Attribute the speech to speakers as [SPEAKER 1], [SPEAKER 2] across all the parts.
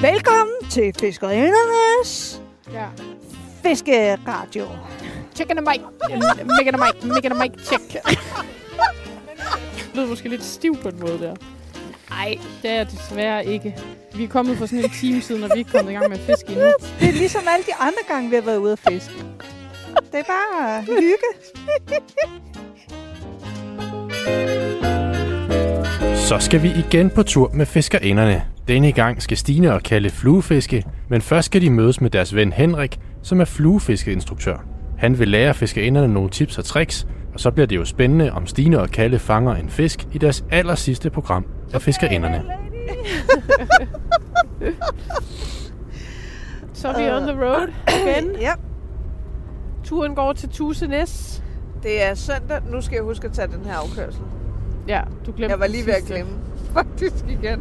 [SPEAKER 1] Velkommen til Fiskerindernes
[SPEAKER 2] Ja.
[SPEAKER 1] Fiskeradio.
[SPEAKER 2] Chicken and Mike. Mega and Mike. Mega and Mike. Check. Det lyder måske lidt stiv på en måde der. Nej, det er jeg desværre ikke. Vi er kommet for sådan en time siden, og vi er ikke kommet i gang med at fiske endnu.
[SPEAKER 1] Det er ligesom alle de andre gange, vi har været ude at fiske. Det er bare hygge.
[SPEAKER 3] Så skal vi igen på tur med fiskerinderne. Denne gang skal Stine og Kalle fluefiske, men først skal de mødes med deres ven Henrik, som er fluefiskeinstruktør. Han vil lære fiskerinderne nogle tips og tricks, og så bliver det jo spændende, om Stine og Kalle fanger en fisk i deres aller sidste program af fiskerinderne.
[SPEAKER 2] Så er vi on the road igen.
[SPEAKER 1] Ja,
[SPEAKER 2] Turen går til Tusenæs.
[SPEAKER 4] Det er søndag. Nu skal jeg huske at tage den her afkørsel.
[SPEAKER 2] Ja, du glemte
[SPEAKER 4] Jeg var lige ved at
[SPEAKER 2] sidste.
[SPEAKER 4] glemme. Faktisk igen.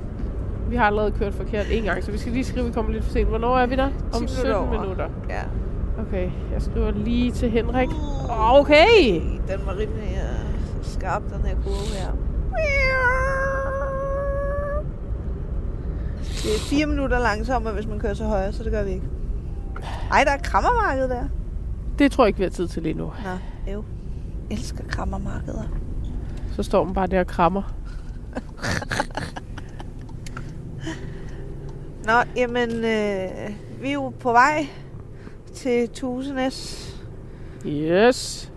[SPEAKER 2] Vi har allerede kørt forkert en gang, så vi skal lige skrive, at vi kommer lidt for sent. Hvornår er vi der? Om
[SPEAKER 4] 10
[SPEAKER 2] 17
[SPEAKER 4] minutter over.
[SPEAKER 2] minutter.
[SPEAKER 4] Ja.
[SPEAKER 2] Okay, jeg skriver lige til Henrik. Okay!
[SPEAKER 4] Den var rimelig uh, skarp, den her kurve her. Det er fire minutter langsommere, hvis man kører så højre, så det gør vi ikke. Ej, der er krammermarked der.
[SPEAKER 2] Det tror jeg ikke, vi har tid til lige nu.
[SPEAKER 4] Nå, jo. Jeg elsker krammermarkeder.
[SPEAKER 2] Så står man bare der og krammer.
[SPEAKER 4] Nå, jamen, øh, vi er jo på vej til Tusenæs.
[SPEAKER 2] Yes!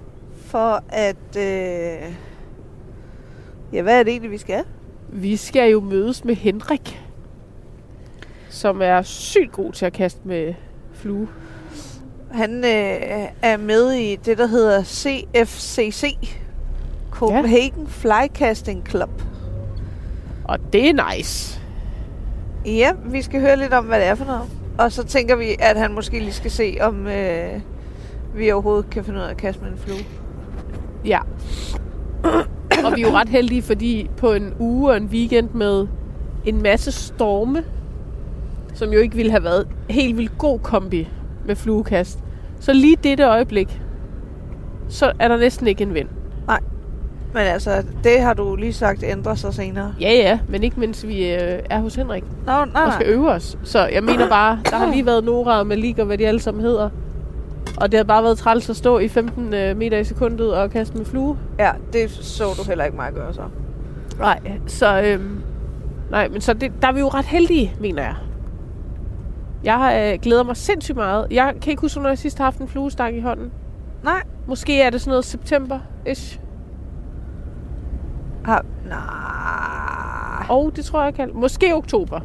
[SPEAKER 4] for at... Øh... Ja, hvad er det egentlig, vi skal?
[SPEAKER 2] Vi skal jo mødes med Henrik, som er sygt god til at kaste med flue.
[SPEAKER 4] Han øh, er med i det, der hedder CFCC. Copenhagen ja. Flycasting Club.
[SPEAKER 2] Og det er nice.
[SPEAKER 4] Ja, vi skal høre lidt om, hvad det er for noget. Og så tænker vi, at han måske lige skal se, om øh, vi overhovedet kan finde ud af at kaste med en flue.
[SPEAKER 2] Ja. og vi er jo ret heldige, fordi på en uge og en weekend med en masse storme, som jo ikke ville have været helt vildt god kombi med fluekast, så lige dette øjeblik, så er der næsten ikke en vind.
[SPEAKER 4] Men altså, det har du lige sagt ændrer sig senere.
[SPEAKER 2] Ja, ja, men ikke mens vi øh, er hos Henrik.
[SPEAKER 4] Nå, nej,
[SPEAKER 2] og skal
[SPEAKER 4] nej.
[SPEAKER 2] øve os. Så jeg mener bare, der har lige været Nora og Malik og hvad de alle sammen hedder. Og det har bare været træls at stå i 15 øh, meter i sekundet og kaste med flue.
[SPEAKER 4] Ja, det så du heller ikke mig gøre så.
[SPEAKER 2] Nej. Så, øhm, nej, men så det, der er vi jo ret heldige, mener jeg. Jeg har, øh, glæder mig sindssygt meget. Jeg kan ikke huske, når jeg sidst har haft en fluestak i hånden.
[SPEAKER 4] Nej.
[SPEAKER 2] Måske er det sådan noget september-ish.
[SPEAKER 4] Har... Nej.
[SPEAKER 2] Og det tror jeg, jeg kan. Måske oktober.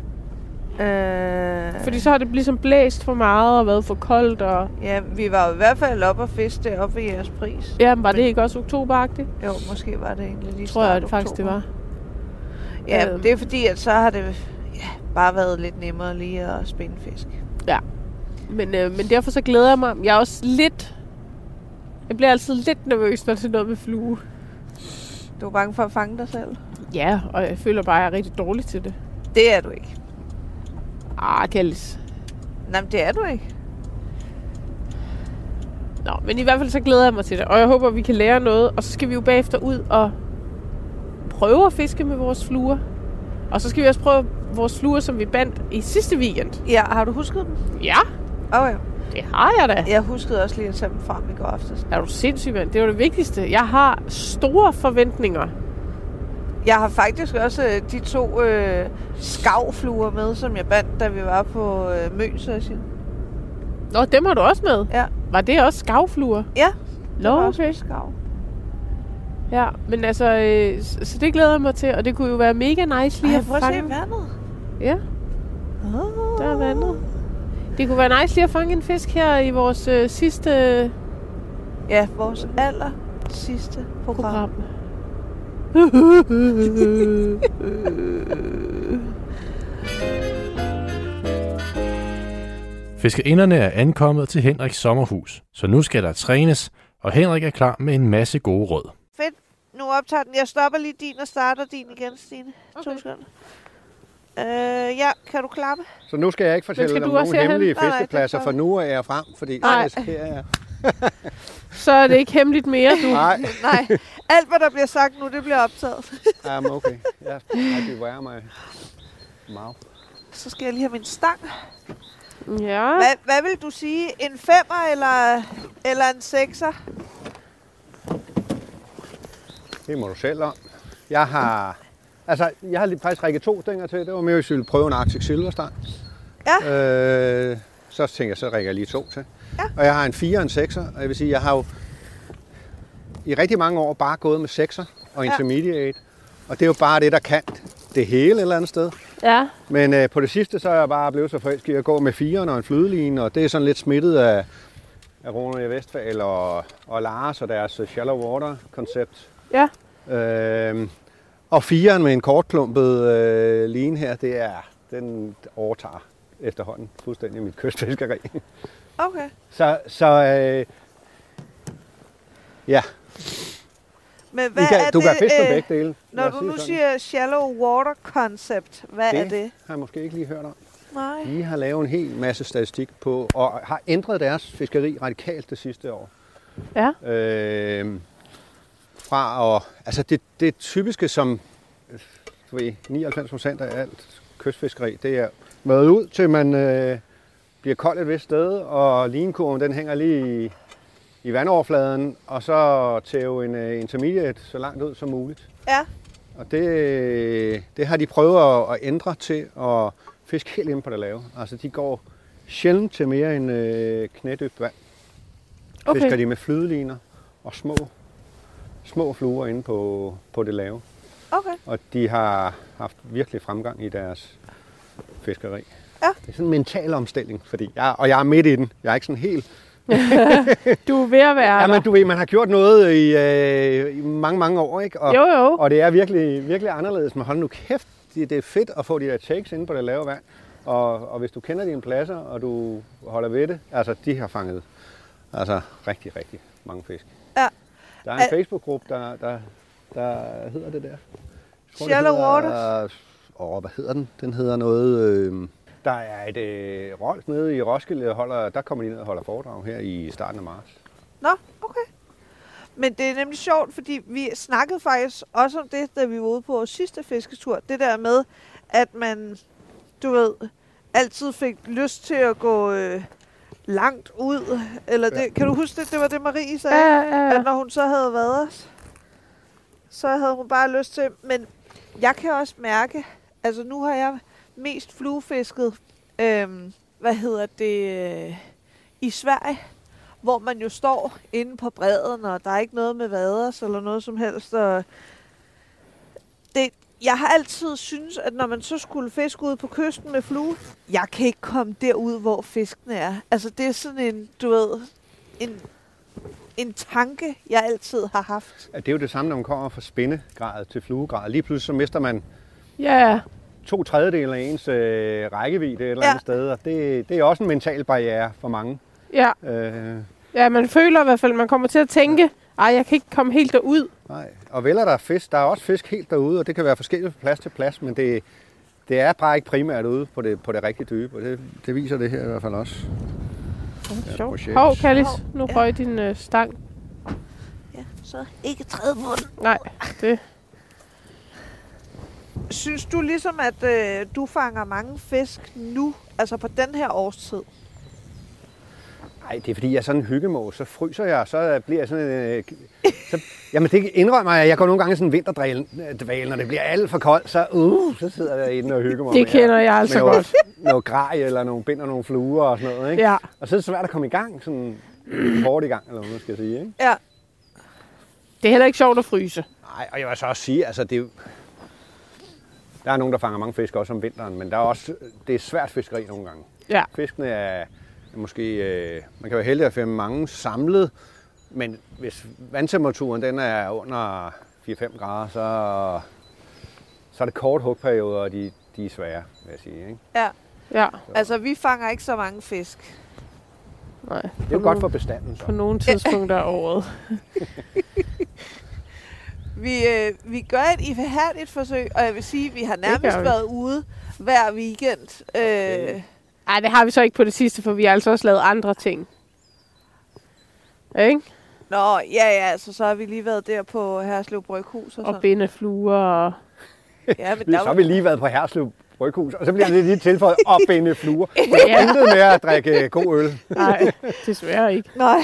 [SPEAKER 4] Øh...
[SPEAKER 2] Fordi så har det ligesom blæst for meget og været for koldt. Og...
[SPEAKER 4] Ja, vi var jo i hvert fald oppe og fiske deroppe ved jeres pris.
[SPEAKER 2] Jamen, var det ikke også oktoberagtigt?
[SPEAKER 4] Jo, måske var det egentlig lige
[SPEAKER 2] Tror jeg
[SPEAKER 4] start
[SPEAKER 2] faktisk, det
[SPEAKER 4] oktober.
[SPEAKER 2] var.
[SPEAKER 4] Ja,
[SPEAKER 2] Øhm.
[SPEAKER 4] det er fordi, at så har det ja, bare været lidt nemmere lige at spænde fisk.
[SPEAKER 2] Men, øh, men derfor så glæder jeg mig. Jeg er også lidt... Jeg bliver altid lidt nervøs, når det er noget med flue.
[SPEAKER 4] Du er bange for at fange dig selv?
[SPEAKER 2] Ja, og jeg føler bare, at jeg er rigtig dårlig til det.
[SPEAKER 4] Det er du ikke.
[SPEAKER 2] Ah, Kallis.
[SPEAKER 4] Nej, men det er du ikke.
[SPEAKER 2] Nå, men i hvert fald så glæder jeg mig til det. Og jeg håber, vi kan lære noget. Og så skal vi jo bagefter ud og prøve at fiske med vores fluer. Og så skal vi også prøve vores fluer, som vi bandt i sidste weekend.
[SPEAKER 4] Ja, har du husket dem?
[SPEAKER 2] Ja,
[SPEAKER 4] Åh oh, ja.
[SPEAKER 2] det har jeg da.
[SPEAKER 4] Jeg huskede også lige at tage dem frem i går aftes.
[SPEAKER 2] Er du sindssyg, mand? Det var det vigtigste. Jeg har store forventninger.
[SPEAKER 4] Jeg har faktisk også øh, de to øh, skavfluer med, som jeg bandt, da vi var på øh, Møn-session.
[SPEAKER 2] Nå, dem har du også med.
[SPEAKER 4] Ja.
[SPEAKER 2] Var det også skavfluer?
[SPEAKER 4] Ja, Der
[SPEAKER 2] Nå,
[SPEAKER 4] var også
[SPEAKER 2] okay.
[SPEAKER 4] nogle Skav.
[SPEAKER 2] Ja, men altså, øh, s- så det glæder jeg mig til, og det kunne jo være mega nice lige
[SPEAKER 4] Ej,
[SPEAKER 2] at
[SPEAKER 4] prøv at
[SPEAKER 2] fange...
[SPEAKER 4] se vandet.
[SPEAKER 2] Ja,
[SPEAKER 4] Oh.
[SPEAKER 2] der er vandet. Det kunne være nice lige at fange en fisk her i vores øh, sidste øh,
[SPEAKER 4] Ja, vores aller sidste program.
[SPEAKER 2] program.
[SPEAKER 3] Fiskerinderne er ankommet til Henriks sommerhus, så nu skal der trænes, og Henrik er klar med en masse gode råd.
[SPEAKER 4] Fedt. Nu optager den. Jeg stopper lige din og starter din igen, Stine. Okay.
[SPEAKER 2] Okay.
[SPEAKER 4] To sekunder. Øh, ja, kan du klappe?
[SPEAKER 5] Så nu skal jeg ikke
[SPEAKER 2] Men skal
[SPEAKER 5] fortælle
[SPEAKER 2] du
[SPEAKER 5] om
[SPEAKER 2] også
[SPEAKER 5] nogle
[SPEAKER 2] herhen?
[SPEAKER 5] hemmelige
[SPEAKER 4] Nej, nej, det er
[SPEAKER 5] fiskepladser,
[SPEAKER 4] klart.
[SPEAKER 5] for nu er jeg frem, fordi
[SPEAKER 2] Nej.
[SPEAKER 5] så risikerer jeg.
[SPEAKER 2] Så er det ikke hemmeligt mere, du.
[SPEAKER 5] Nej,
[SPEAKER 4] Nej, alt hvad der bliver sagt nu, det bliver optaget.
[SPEAKER 5] um, okay. Ja, det værer mig meget.
[SPEAKER 4] Så skal jeg lige have min stang.
[SPEAKER 2] Ja.
[SPEAKER 4] Hvad, hvad vil du sige? En femmer eller, eller en sekser?
[SPEAKER 5] Det må du selv om. Jeg har... Altså, jeg har lige faktisk rækket to stænger til. Det var med, at jeg ville prøve en Arctic Silverstang.
[SPEAKER 4] Ja.
[SPEAKER 5] Øh, så tænker jeg, så rækker jeg lige to til.
[SPEAKER 4] Ja.
[SPEAKER 5] Og jeg har en 4 og en 6'er, og jeg vil sige, jeg har jo i rigtig mange år bare gået med 6'er og
[SPEAKER 4] Ja.
[SPEAKER 5] intermediate. Og det er jo bare det, der kan det hele et eller andet sted.
[SPEAKER 2] Ja.
[SPEAKER 5] Men øh, på det sidste, så er jeg bare blevet så frisk i at gå med 4'eren og en flydeline, og det er sådan lidt smittet af, af Rune i Vestfald og, og Lars og deres øh, shallow water-koncept.
[SPEAKER 2] Ja.
[SPEAKER 5] Øh, og 4'eren med en kortklumpet øh, line her, det er, den overtager efterhånden fuldstændig mit kystfiskeri.
[SPEAKER 4] Okay.
[SPEAKER 5] så så øh, ja,
[SPEAKER 4] Men
[SPEAKER 5] I
[SPEAKER 4] hvad
[SPEAKER 5] kan,
[SPEAKER 4] er
[SPEAKER 5] du
[SPEAKER 4] det,
[SPEAKER 5] kan fiske med
[SPEAKER 4] øh,
[SPEAKER 5] begge dele. Lad
[SPEAKER 4] Når
[SPEAKER 5] os
[SPEAKER 4] du
[SPEAKER 5] sige
[SPEAKER 4] nu
[SPEAKER 5] sådan.
[SPEAKER 4] siger shallow water concept, hvad det. er det?
[SPEAKER 5] har jeg måske ikke lige hørt om.
[SPEAKER 4] Nej.
[SPEAKER 5] De har lavet en hel masse statistik på, og har ændret deres fiskeri radikalt det sidste år.
[SPEAKER 2] Ja.
[SPEAKER 5] Øh, fra at, altså det, det typiske, som øh, du ved, 99 procent af alt kystfiskeri, det er mødet ud til man øh, bliver kold et vist sted, og linkurven den hænger lige i, i vandoverfladen, og så tæve en øh, intermediate så langt ud som muligt.
[SPEAKER 4] Ja.
[SPEAKER 5] Og det, det har de prøvet at, at ændre til at fiske helt inde på det lave. Altså de går sjældent til mere end øh, knædybt vand. Okay. Fisker
[SPEAKER 2] Okay.
[SPEAKER 5] de med flydeliner og små, små fluer inde på, på det lave.
[SPEAKER 4] Okay.
[SPEAKER 5] Og de har haft virkelig fremgang i deres fiskeri.
[SPEAKER 4] Ja.
[SPEAKER 5] Det er sådan en mental omstilling, fordi jeg, og jeg er midt i den. Jeg er ikke sådan helt
[SPEAKER 2] Du er ved at være
[SPEAKER 5] Ja, men
[SPEAKER 2] der.
[SPEAKER 5] du ved, man har gjort noget i, øh, i mange, mange år, ikke? Og,
[SPEAKER 2] Jo, jo.
[SPEAKER 5] Og det er virkelig, virkelig anderledes. Men hold nu kæft, det, det er fedt at få de der takes inde på det lave vand. Og, og hvis du kender dine pladser, og du holder ved det, altså de har fanget altså, rigtig, rigtig mange fisk.
[SPEAKER 4] Ja.
[SPEAKER 5] Der er en
[SPEAKER 4] Al-
[SPEAKER 5] Facebook-gruppe, der, der, der hedder det der. Jeg tror, det
[SPEAKER 4] Shallow
[SPEAKER 5] hedder-
[SPEAKER 4] Waters?
[SPEAKER 5] Åh, hvad hedder den? Den hedder noget... Øh, der er et øh, Rolf nede i Roskilde, der holder, der kommer de ned og holder foredrag her i starten af marts.
[SPEAKER 4] Nå, okay. Men det er nemlig sjovt, fordi vi snakkede faktisk også om det, da vi var ude på vores sidste fisketur. Det der med, at man, du ved, altid fik lyst til at gå øh, langt ud. Eller det, Kan du huske det? Det var det, Marie sagde.
[SPEAKER 2] Ja, ja, ja.
[SPEAKER 4] at når hun så havde været os, så havde hun bare lyst til, men jeg kan også mærke, altså nu har jeg mest fluefisket, øhm, hvad hedder det, øh, i Sverige, hvor man jo står inde på bredden, og der er ikke noget med vaders eller noget som helst, og det, jeg har altid synes, at når man så skulle fiske ud på kysten med flue, jeg kan ikke komme derud, hvor fiskene er. Altså det er sådan en, du ved, en en tanke, jeg altid har haft.
[SPEAKER 5] at det er jo det samme, når man kommer fra spindegrad til fluegrad. Lige pludselig så mister man
[SPEAKER 2] Ja, ja.
[SPEAKER 5] to tredjedele af ens øh, rækkevidde et eller
[SPEAKER 4] Ja.
[SPEAKER 5] andet sted, og det, det er også en mental barriere for mange.
[SPEAKER 2] Ja,
[SPEAKER 5] Øh,
[SPEAKER 2] ja, man føler i hvert fald, man kommer til at tænke, ej, jeg kan ikke komme helt derud.
[SPEAKER 5] nej. Og vel er der fisk, der er også fisk helt derude, og det kan være forskelligt fra plads til plads, men det, det er bare ikke primært ude på det, på det rigtige dybe, og det, det viser det her i hvert fald også. Ja,
[SPEAKER 2] Sjovt.
[SPEAKER 5] projekt.
[SPEAKER 2] Hov, Kallis,
[SPEAKER 4] Hov,
[SPEAKER 2] nu
[SPEAKER 4] ja.
[SPEAKER 2] røg din øh, stang.
[SPEAKER 4] Ja, så ikke træde på den.
[SPEAKER 2] Nej, det...
[SPEAKER 4] Synes du ligesom, at øh, du fanger mange fisk nu, altså på den her årstid?
[SPEAKER 5] Nej, det er fordi, jeg er sådan en hyggemås, så fryser jeg, og så bliver jeg sådan en... Øh, så, jamen, det indrømmer jeg. Jeg går nogle gange i sådan en vinterdval, når det bliver alt for koldt, så, uh, så sidder jeg inde og hygger mig.
[SPEAKER 2] Det
[SPEAKER 5] med-
[SPEAKER 2] kender jeg altså
[SPEAKER 5] med noget-
[SPEAKER 2] godt.
[SPEAKER 5] Noget grej eller nogle bind og nogle fluer og sådan noget, ikke?
[SPEAKER 2] Ja.
[SPEAKER 5] Og så er det svært at komme i gang, sådan hårdt i gang, eller hvad man skal sige, ikke?
[SPEAKER 4] Ja.
[SPEAKER 2] Det er heller ikke sjovt at fryse.
[SPEAKER 5] Nej, og jeg vil så også sige, altså det er jo- der er nogen, der fanger mange fisk også om vinteren, men der er også, det er svært fiskeri nogle gange.
[SPEAKER 2] Ja,
[SPEAKER 5] Fiskene er måske, øh, man kan være heldig at finde mange samlet, men hvis vandtemperaturen den er under 4-5 grader, så, så er det kort hugperioder, og de, de er svære, vil jeg sige. Ikke?
[SPEAKER 4] Ja,
[SPEAKER 2] ja,
[SPEAKER 4] altså vi fanger ikke så mange fisk.
[SPEAKER 2] nej.
[SPEAKER 5] Det er jo godt for bestanden.
[SPEAKER 2] På
[SPEAKER 5] Så.
[SPEAKER 2] nogle tidspunkter af året.
[SPEAKER 4] Vi, øh, vi gør et ihærdigt forsøg, og jeg vil sige, at vi har nærmest
[SPEAKER 2] gør vi.
[SPEAKER 4] været ude hver weekend. Øh,
[SPEAKER 2] Ej, det har vi så ikke på det sidste, for vi har altså også lavet andre ting. Ikke?
[SPEAKER 4] nå, ja, ja, altså, så har vi lige været der på Herslev Bryghus og
[SPEAKER 2] Og
[SPEAKER 4] sådan.
[SPEAKER 2] binde fluer og...
[SPEAKER 4] Ja, men
[SPEAKER 5] Vi-
[SPEAKER 4] der
[SPEAKER 5] Så har
[SPEAKER 4] var,
[SPEAKER 5] vi lige været på Herslev bryghus, og så bliver det lige tilføjet at binde fluer.
[SPEAKER 2] Ja.
[SPEAKER 5] Intet med at drikke god øl.
[SPEAKER 2] Nej, desværre ikke.
[SPEAKER 4] Nej.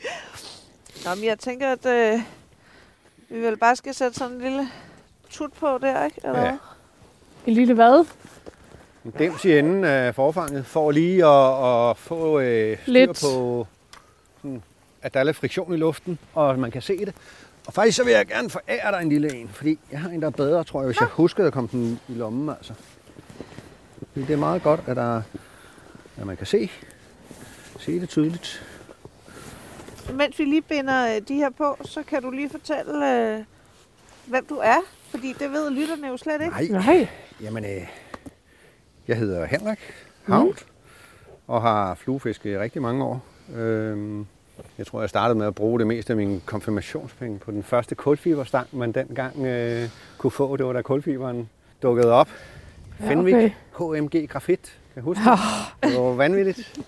[SPEAKER 4] Nå, men jeg tænker, at øh, vi vel bare skal sætte sådan en lille tut på der, ikke? Eller
[SPEAKER 5] Ja.
[SPEAKER 4] hvad?
[SPEAKER 2] En lille hvad?
[SPEAKER 5] En Dems i enden af forfanget, for lige at, at få øh, styr
[SPEAKER 2] Lidt.
[SPEAKER 5] på, sådan, at der er lidt friktion i luften, og man kan se det. Og faktisk så vil jeg gerne forære dig en lille en, fordi jeg har en, der er bedre, tror jeg, hvis jeg huskede at komme den i lommen. Altså. Fordi Det er meget godt, at, der, at man kan se, se det tydeligt.
[SPEAKER 4] Mens vi lige binder øh, de her på, så kan du lige fortælle, øh, hvem du er. Fordi det ved lytterne jo slet ikke.
[SPEAKER 5] Nej,
[SPEAKER 2] Nej.
[SPEAKER 5] Jamen, øh, jeg hedder Henrik Havt, mm. og har fluefisket i rigtig mange år. Øhm, jeg tror, jeg startede med at bruge det meste af mine konfirmationspenge på den første kulfiberstang, man dengang øh, kunne få. Det var da kulfiberen dukkede op.
[SPEAKER 2] Ja,
[SPEAKER 5] Fenwick,
[SPEAKER 2] okay. Ah.
[SPEAKER 5] HMG Grafit, kan jeg huske. det? Det var vanvittigt.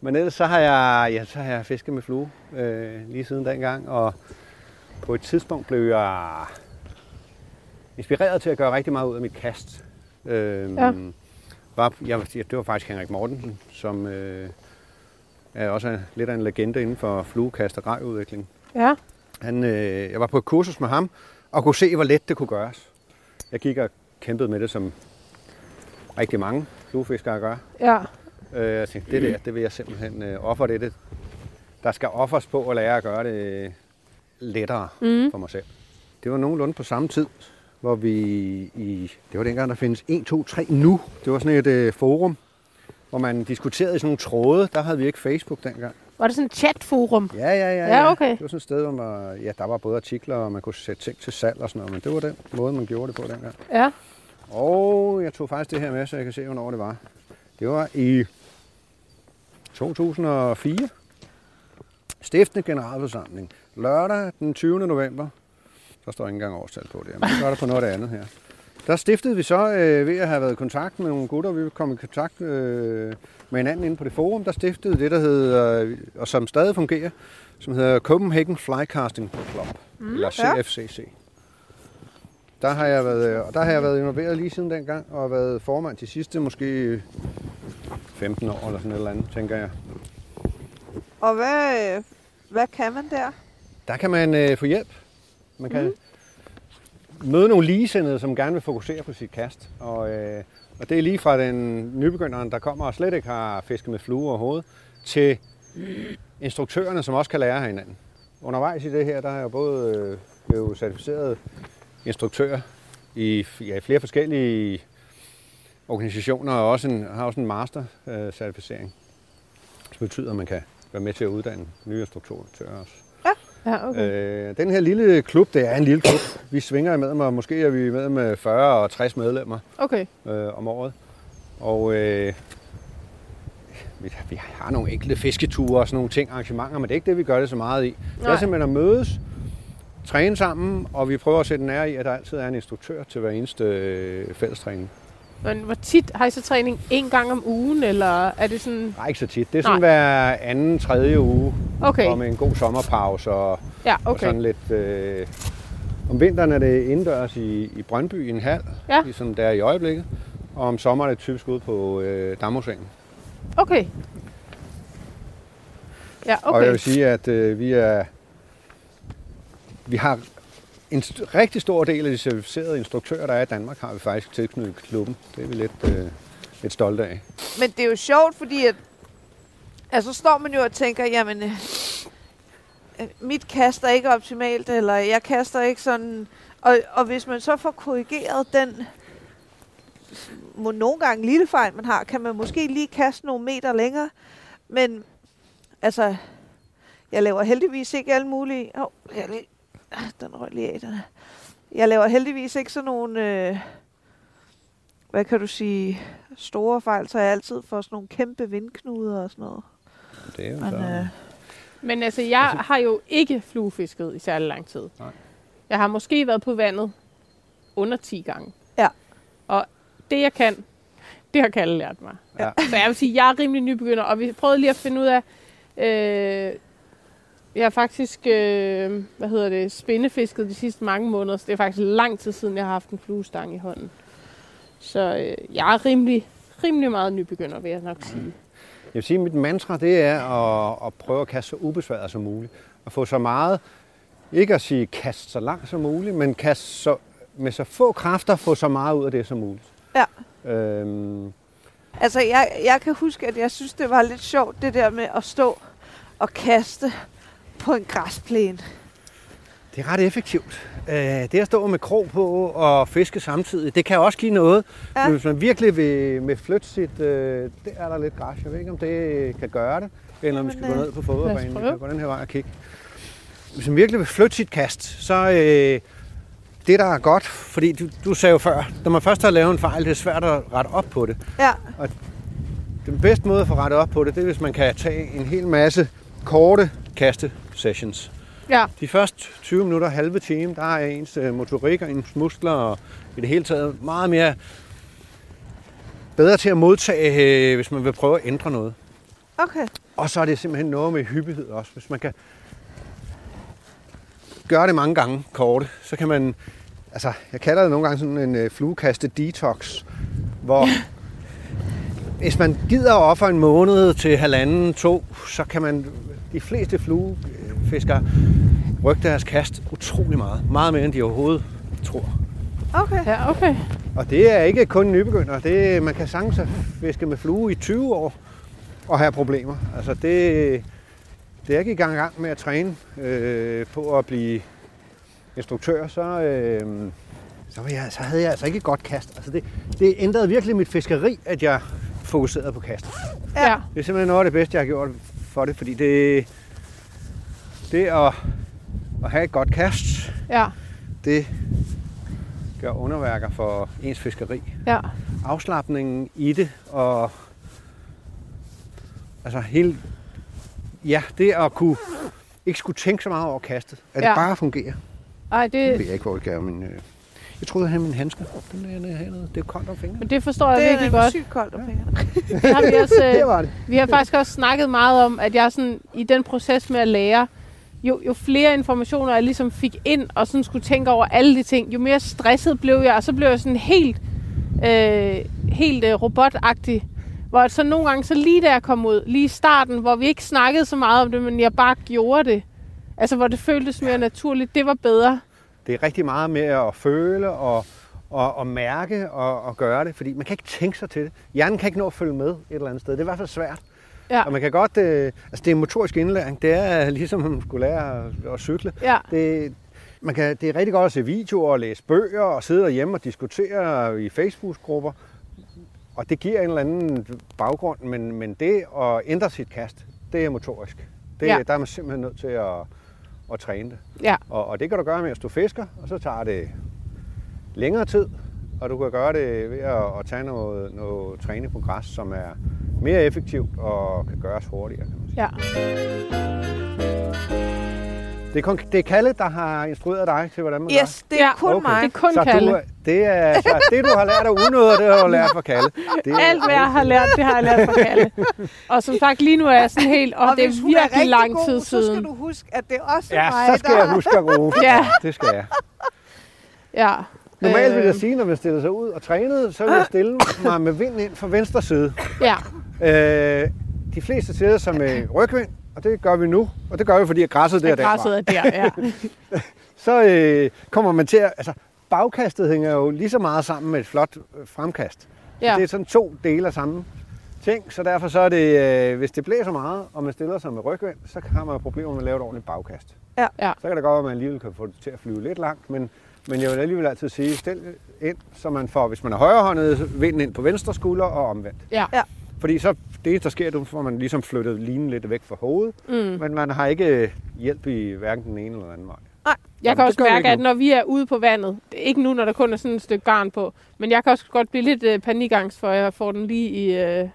[SPEAKER 5] Men ellers så har jeg, ja, så har jeg fisket med flue øh, lige siden dengang, og på et tidspunkt blev jeg inspireret til at gøre rigtig meget ud af mit kast. Øhm,
[SPEAKER 2] Ja.
[SPEAKER 5] ja. var, jeg, det var faktisk Henrik Mortensen, som øh, er også er lidt af en legende inden for fluekast og grejudvikling.
[SPEAKER 2] Ja.
[SPEAKER 5] Han, øh, jeg var på et kursus med ham, og kunne se, hvor let det kunne gøres. Jeg gik og kæmpede med det, som rigtig mange fluefiskere gør.
[SPEAKER 2] Ja.
[SPEAKER 5] Øh, jeg tænkte, det der, det vil jeg simpelthen øh, ofre det, det. Der skal offers på at lære at gøre det øh, lettere mm. for mig selv. Det var nogenlunde på samme tid, hvor vi i... Det var dengang, der findes 1, 2, 3 nu. Det var sådan et øh, forum, hvor man diskuterede i sådan nogle tråde. Der havde vi ikke Facebook dengang.
[SPEAKER 2] Var det sådan et chatforum?
[SPEAKER 5] Ja, ja, ja.
[SPEAKER 2] Ja, okay.
[SPEAKER 5] Det var sådan et sted, hvor man, ja, der var både artikler, og man kunne sætte ting til salg og sådan noget. Men det var den måde, man gjorde det på dengang.
[SPEAKER 2] Ja.
[SPEAKER 5] Og jeg tog faktisk det her med, så jeg kan se, hvornår det var. Det var i 2004. Stiftende Generalforsamling. Lørdag den 20. november. Der står ikke engang årstal på det her, men så er der på noget andet her. Der stiftede vi så, øh, ved at have været i kontakt med nogle gutter, vi kom i kontakt øh, med hinanden inde på det forum, der stiftede det, der hedder, øh, og som stadig fungerer, som hedder Copenhagen Flycasting Club, mm, eller
[SPEAKER 4] ja.
[SPEAKER 5] CFCC. Der har jeg været, øh, og der har jeg været involveret lige siden dengang, og har været formand de sidste måske 15 år eller sådan et eller andet, tænker jeg.
[SPEAKER 4] Og hvad, øh, hvad kan man der?
[SPEAKER 5] Der kan man øh, få hjælp. Man kan mm. møde nogle ligesindede, som gerne vil fokusere på sit kast. Og, øh, og det er lige fra den nybegynderen, der kommer og slet ikke har fisket med flue og hoved, til instruktørerne, som også kan lære af hinanden. Undervejs i det her, der har jeg både øh, blevet certificeret instruktør i f- ja, i flere forskellige organisationer, og også en, har også en master-certificering, som betyder, at man kan være med til at uddanne nye instruktører også.
[SPEAKER 2] Ja, okay.
[SPEAKER 5] Øh, den her lille klub, det er en lille klub. Vi svinger med og måske er vi med med 40 og 60 medlemmer
[SPEAKER 2] Okay.
[SPEAKER 5] øh, om året. Og øh, vi, vi har nogle enkelte fisketure og sådan nogle ting, arrangementer, men det er ikke det, vi gør det så meget i. Nej. Det
[SPEAKER 2] Nej.
[SPEAKER 5] er simpelthen at mødes, træne sammen, og vi prøver at sætte en ære i, at der altid er en instruktør til hver eneste øh, fællestræning.
[SPEAKER 2] Men hvor tit har I så træning? En gang om ugen, eller er det sådan...
[SPEAKER 5] Nej, ikke så tit. Det er sådan
[SPEAKER 2] Nej.
[SPEAKER 5] hver anden, tredje uge,
[SPEAKER 2] Okay.
[SPEAKER 5] og med en god sommerpause og
[SPEAKER 2] Ja,
[SPEAKER 5] Okay. Og
[SPEAKER 2] okay.
[SPEAKER 5] sådan lidt... Øh, om vinteren er det indendørs i, i Brøndby i en hal,
[SPEAKER 2] Ja.
[SPEAKER 5] ja. ligesom der er i øjeblikket. Og om sommeren er det typisk ude på øh, Damhusringen.
[SPEAKER 2] Okay. Ja,
[SPEAKER 5] Og jeg
[SPEAKER 2] okay.
[SPEAKER 5] vil sige, at øh, vi er... Vi har en st- rigtig stor del af de certificerede instruktører, der er i Danmark, har vi faktisk tilknyttet klubben. Det er vi lidt, øh, lidt stolte af.
[SPEAKER 4] Men det er jo sjovt, fordi at, altså, så står man jo og tænker, jamen, øh, øh, mit kast er ikke optimalt, eller jeg kaster ikke sådan... Og, og hvis man så får korrigeret den må nogle gange lille fejl, man har, kan man måske lige kaste nogle meter længere. Men altså, jeg laver heldigvis ikke alle mulige... Åh, oh, jeg er lige... ah, Den røg lige af, den her. Jeg laver heldigvis ikke sådan nogle... Øh, hvad kan du sige? store fejl, så jeg altid får sådan nogle kæmpe vindknuder og sådan noget.
[SPEAKER 5] Det er jo
[SPEAKER 4] Men, øh,
[SPEAKER 5] så.
[SPEAKER 2] Men altså, jeg har jo ikke fluefisket i særlig lang tid.
[SPEAKER 5] Nej.
[SPEAKER 2] Jeg har måske været på vandet under 10 gange.
[SPEAKER 4] Ja.
[SPEAKER 2] Og det, jeg kan, det har Kalle lært mig.
[SPEAKER 5] Ja.
[SPEAKER 2] Så jeg vil sige, at jeg er rimelig nybegynder, og vi prøvede lige at finde ud af... Øh, jeg har faktisk, øh, hvad hedder det, spindefisket de sidste mange måneder, så det er faktisk lang tid siden, jeg har haft en fluestang i hånden. Så øh, jeg er rimelig, rimelig meget nybegynder, vil jeg nok sige.
[SPEAKER 5] Jeg vil sige, at mit mantra det er at, at prøve at kaste så ubesværet som muligt. At få så meget, ikke at sige kast så langt som muligt, men kast så, med så få kræfter, få så meget ud af det som muligt.
[SPEAKER 4] Ja.
[SPEAKER 5] Øhm,
[SPEAKER 4] Altså, jeg, jeg kan huske, at jeg synes, det var lidt sjovt, det der med at stå og kaste på en græsplæne.
[SPEAKER 5] det er ret effektivt. Øh, det at stå med krog på og fiske samtidig, det kan også give noget.
[SPEAKER 4] Ja.
[SPEAKER 5] Ja. Men hvis man virkelig vil med flytte sit, øh, det er der lidt græs. Jeg ved ikke, om det kan gøre det, eller om vi
[SPEAKER 4] Jamen,
[SPEAKER 5] skal gå
[SPEAKER 4] øh,
[SPEAKER 5] ned på fodboldbanen. Vi
[SPEAKER 2] prøve.
[SPEAKER 5] kan gå den her vej og kigge. Hvis man virkelig vil flytte sit kast, så øh, det, der er godt, fordi du, du sagde jo før, når man først har lavet en fejl, det er svært at rette op på det.
[SPEAKER 4] Ja,
[SPEAKER 5] Den bedste måde at få rettet op på det, det er, hvis man kan tage en hel masse korte kaste-sessions.
[SPEAKER 2] Ja.
[SPEAKER 5] De første 20 minutter, halve time, der er ens øh, motorik og ens muskler og i det hele taget meget mere bedre til at modtage, øh, hvis man vil prøve at ændre noget.
[SPEAKER 4] okay.
[SPEAKER 5] Og så er det simpelthen noget med hyppighed også. Hvis man kan gøre det mange gange korte, så kan man... Altså, jeg kalder det nogle gange sådan en øh, fluekaste detox, hvor hvis man gider at ofre en måned til halvanden, to, så kan man... De fleste fluefiskere rykke deres kast utrolig meget. Meget mere, end de overhovedet tror.
[SPEAKER 4] Okay.
[SPEAKER 2] Ja, okay.
[SPEAKER 5] Og det er ikke kun nybegynder. Det, man kan sagtens have fiske med flue i 20 år og have problemer. Altså det, det er ikke i gang, gang med at træne øh, på at blive instruktør, så, øh, så, var jeg, så havde jeg altså ikke et godt kast. Altså det, det ændrede virkelig mit fiskeri, at jeg fokuserede på kastet.
[SPEAKER 4] Ja.
[SPEAKER 2] Ja.
[SPEAKER 5] Det er simpelthen noget af det bedste, jeg har gjort for det, fordi det, det at, at have et godt kast,
[SPEAKER 2] Ja.
[SPEAKER 5] det gør underværker for ens fiskeri
[SPEAKER 2] Ja.
[SPEAKER 5] afslappningen i det, og altså hele, ja, det at kunne ikke skulle tænke så meget over kastet, at ja.
[SPEAKER 2] Ja.
[SPEAKER 5] det bare fungerer.
[SPEAKER 2] Ej,
[SPEAKER 5] Det ved
[SPEAKER 2] det,
[SPEAKER 5] jeg ikke, hvor jeg gør, men øh, jeg troede, jeg havde mine handsker. Den er nede hernede. Det er koldt om fingrene.
[SPEAKER 2] men det forstår jeg
[SPEAKER 4] Det er
[SPEAKER 2] virkelig
[SPEAKER 4] nemlig
[SPEAKER 2] godt.
[SPEAKER 4] sygt koldt om fingrene.
[SPEAKER 2] Det har vi også, øh,
[SPEAKER 5] Det var det.
[SPEAKER 2] Vi har faktisk også snakket meget om, at jeg sådan, i den proces med at lære, jo, jo flere informationer jeg ligesom fik ind, og sådan skulle tænke over alle de ting, jo mere stresset blev jeg, og så blev jeg sådan helt, øh, helt øh, robotagtig. Hvor så nogle gange, så lige da jeg kom ud, lige i starten, hvor vi ikke snakkede så meget om det, men jeg bare gjorde det. Altså, hvor det føltes mere naturligt, det var bedre.
[SPEAKER 5] Det er rigtig meget med at føle og, og, og mærke og, og gøre det, fordi man kan ikke tænke sig til det. Hjernen kan ikke nå at følge med et eller andet sted. Det er i hvert fald svært.
[SPEAKER 2] Ja,
[SPEAKER 5] Og man kan godt, øh, altså det er en motorisk indlæring. Det er øh, ligesom, at man skulle lære at, at cykle.
[SPEAKER 2] ja,
[SPEAKER 5] Det, man kan, det er rigtig godt at se videoer og læse bøger og sidde derhjemme og diskutere i Facebook-grupper. Og det giver en eller anden baggrund, men, men det at ændre sit kast, det er motorisk. Det,
[SPEAKER 2] Ja.
[SPEAKER 5] ja. Der er man simpelthen nødt til at, at træne det.
[SPEAKER 2] ja,
[SPEAKER 5] Og, og det kan du gøre, mens du fisker, og så tager det længere tid. Og du kan gøre det ved at, at tage noget, noget træning på græs, som er mere effektivt og kan gøres hurtigere. Kan man sige.
[SPEAKER 2] ja.
[SPEAKER 5] Det er, kun, det er Kalle, der har instrueret dig til, hvordan man gør.
[SPEAKER 4] Yes, det er
[SPEAKER 2] Ja.
[SPEAKER 4] kun
[SPEAKER 5] Okay.
[SPEAKER 2] Det
[SPEAKER 4] mig.
[SPEAKER 2] er kun
[SPEAKER 5] så
[SPEAKER 2] Kalle.
[SPEAKER 5] Du, er- det, er, så det, du har lært af unødet, det har du lært fra Kalle. Det er,
[SPEAKER 2] Alt, hvad jeg har lært, det har jeg lært fra Kalle. Og som sagt, lige nu er jeg sådan helt, og, og det er
[SPEAKER 4] hvis hun er
[SPEAKER 2] virkelig
[SPEAKER 4] rigtig
[SPEAKER 2] lang
[SPEAKER 4] god,
[SPEAKER 2] tid siden.
[SPEAKER 4] Så skal du huske, at det er også
[SPEAKER 5] Ja,
[SPEAKER 4] mig,
[SPEAKER 5] så skal
[SPEAKER 4] der
[SPEAKER 5] jeg huske at rose.
[SPEAKER 2] Ja.
[SPEAKER 5] Det skal jeg.
[SPEAKER 2] Ja.
[SPEAKER 5] Normalt ville jeg
[SPEAKER 2] Øh,
[SPEAKER 5] sige, når man stiller sig ud og trænede, så ville jeg stille mig med vind ind fra venstre side.
[SPEAKER 2] Ja,
[SPEAKER 5] Øh, de fleste stiller sig med rygvind, og det gør vi nu. Og det gør vi, fordi græsset der
[SPEAKER 2] at græsset er der, ja.
[SPEAKER 5] Så øh, kommer man til at... Altså, bagkastet hænger jo lige så meget sammen med et flot øh, fremkast. Ja. Det
[SPEAKER 2] ja.
[SPEAKER 5] er sådan to dele af samme ting, så derfor så er det, øh, hvis det blæser meget, og man stiller sig med rygvind, så har man jo problemer med at lave et ordentligt bagkast.
[SPEAKER 4] Ja.
[SPEAKER 2] Ja.
[SPEAKER 5] Så kan det godt være, at man alligevel kan få det til at flyve lidt langt, men, men jeg vil alligevel altid sige, stil ind, så man får, hvis man er højrehåndet, vinden ind på venstre skulder og omvendt.
[SPEAKER 2] Ja.
[SPEAKER 4] Ja.
[SPEAKER 5] Fordi så det, eneste, der sker, det er, at man ligesom flyttet linen lidt væk fra hovedet,
[SPEAKER 2] Mm.
[SPEAKER 5] men man har ikke hjælp i hverken den ene eller den anden vej.
[SPEAKER 2] Jeg kan
[SPEAKER 5] det
[SPEAKER 2] også
[SPEAKER 5] gør vi
[SPEAKER 2] mærke,
[SPEAKER 5] ikke
[SPEAKER 2] at
[SPEAKER 5] nu.
[SPEAKER 2] når vi er ude på vandet, det er ikke nu, når der kun er sådan et stykke garn på, men jeg kan også godt blive lidt øh, panikangst, for jeg får den lige i... Øh,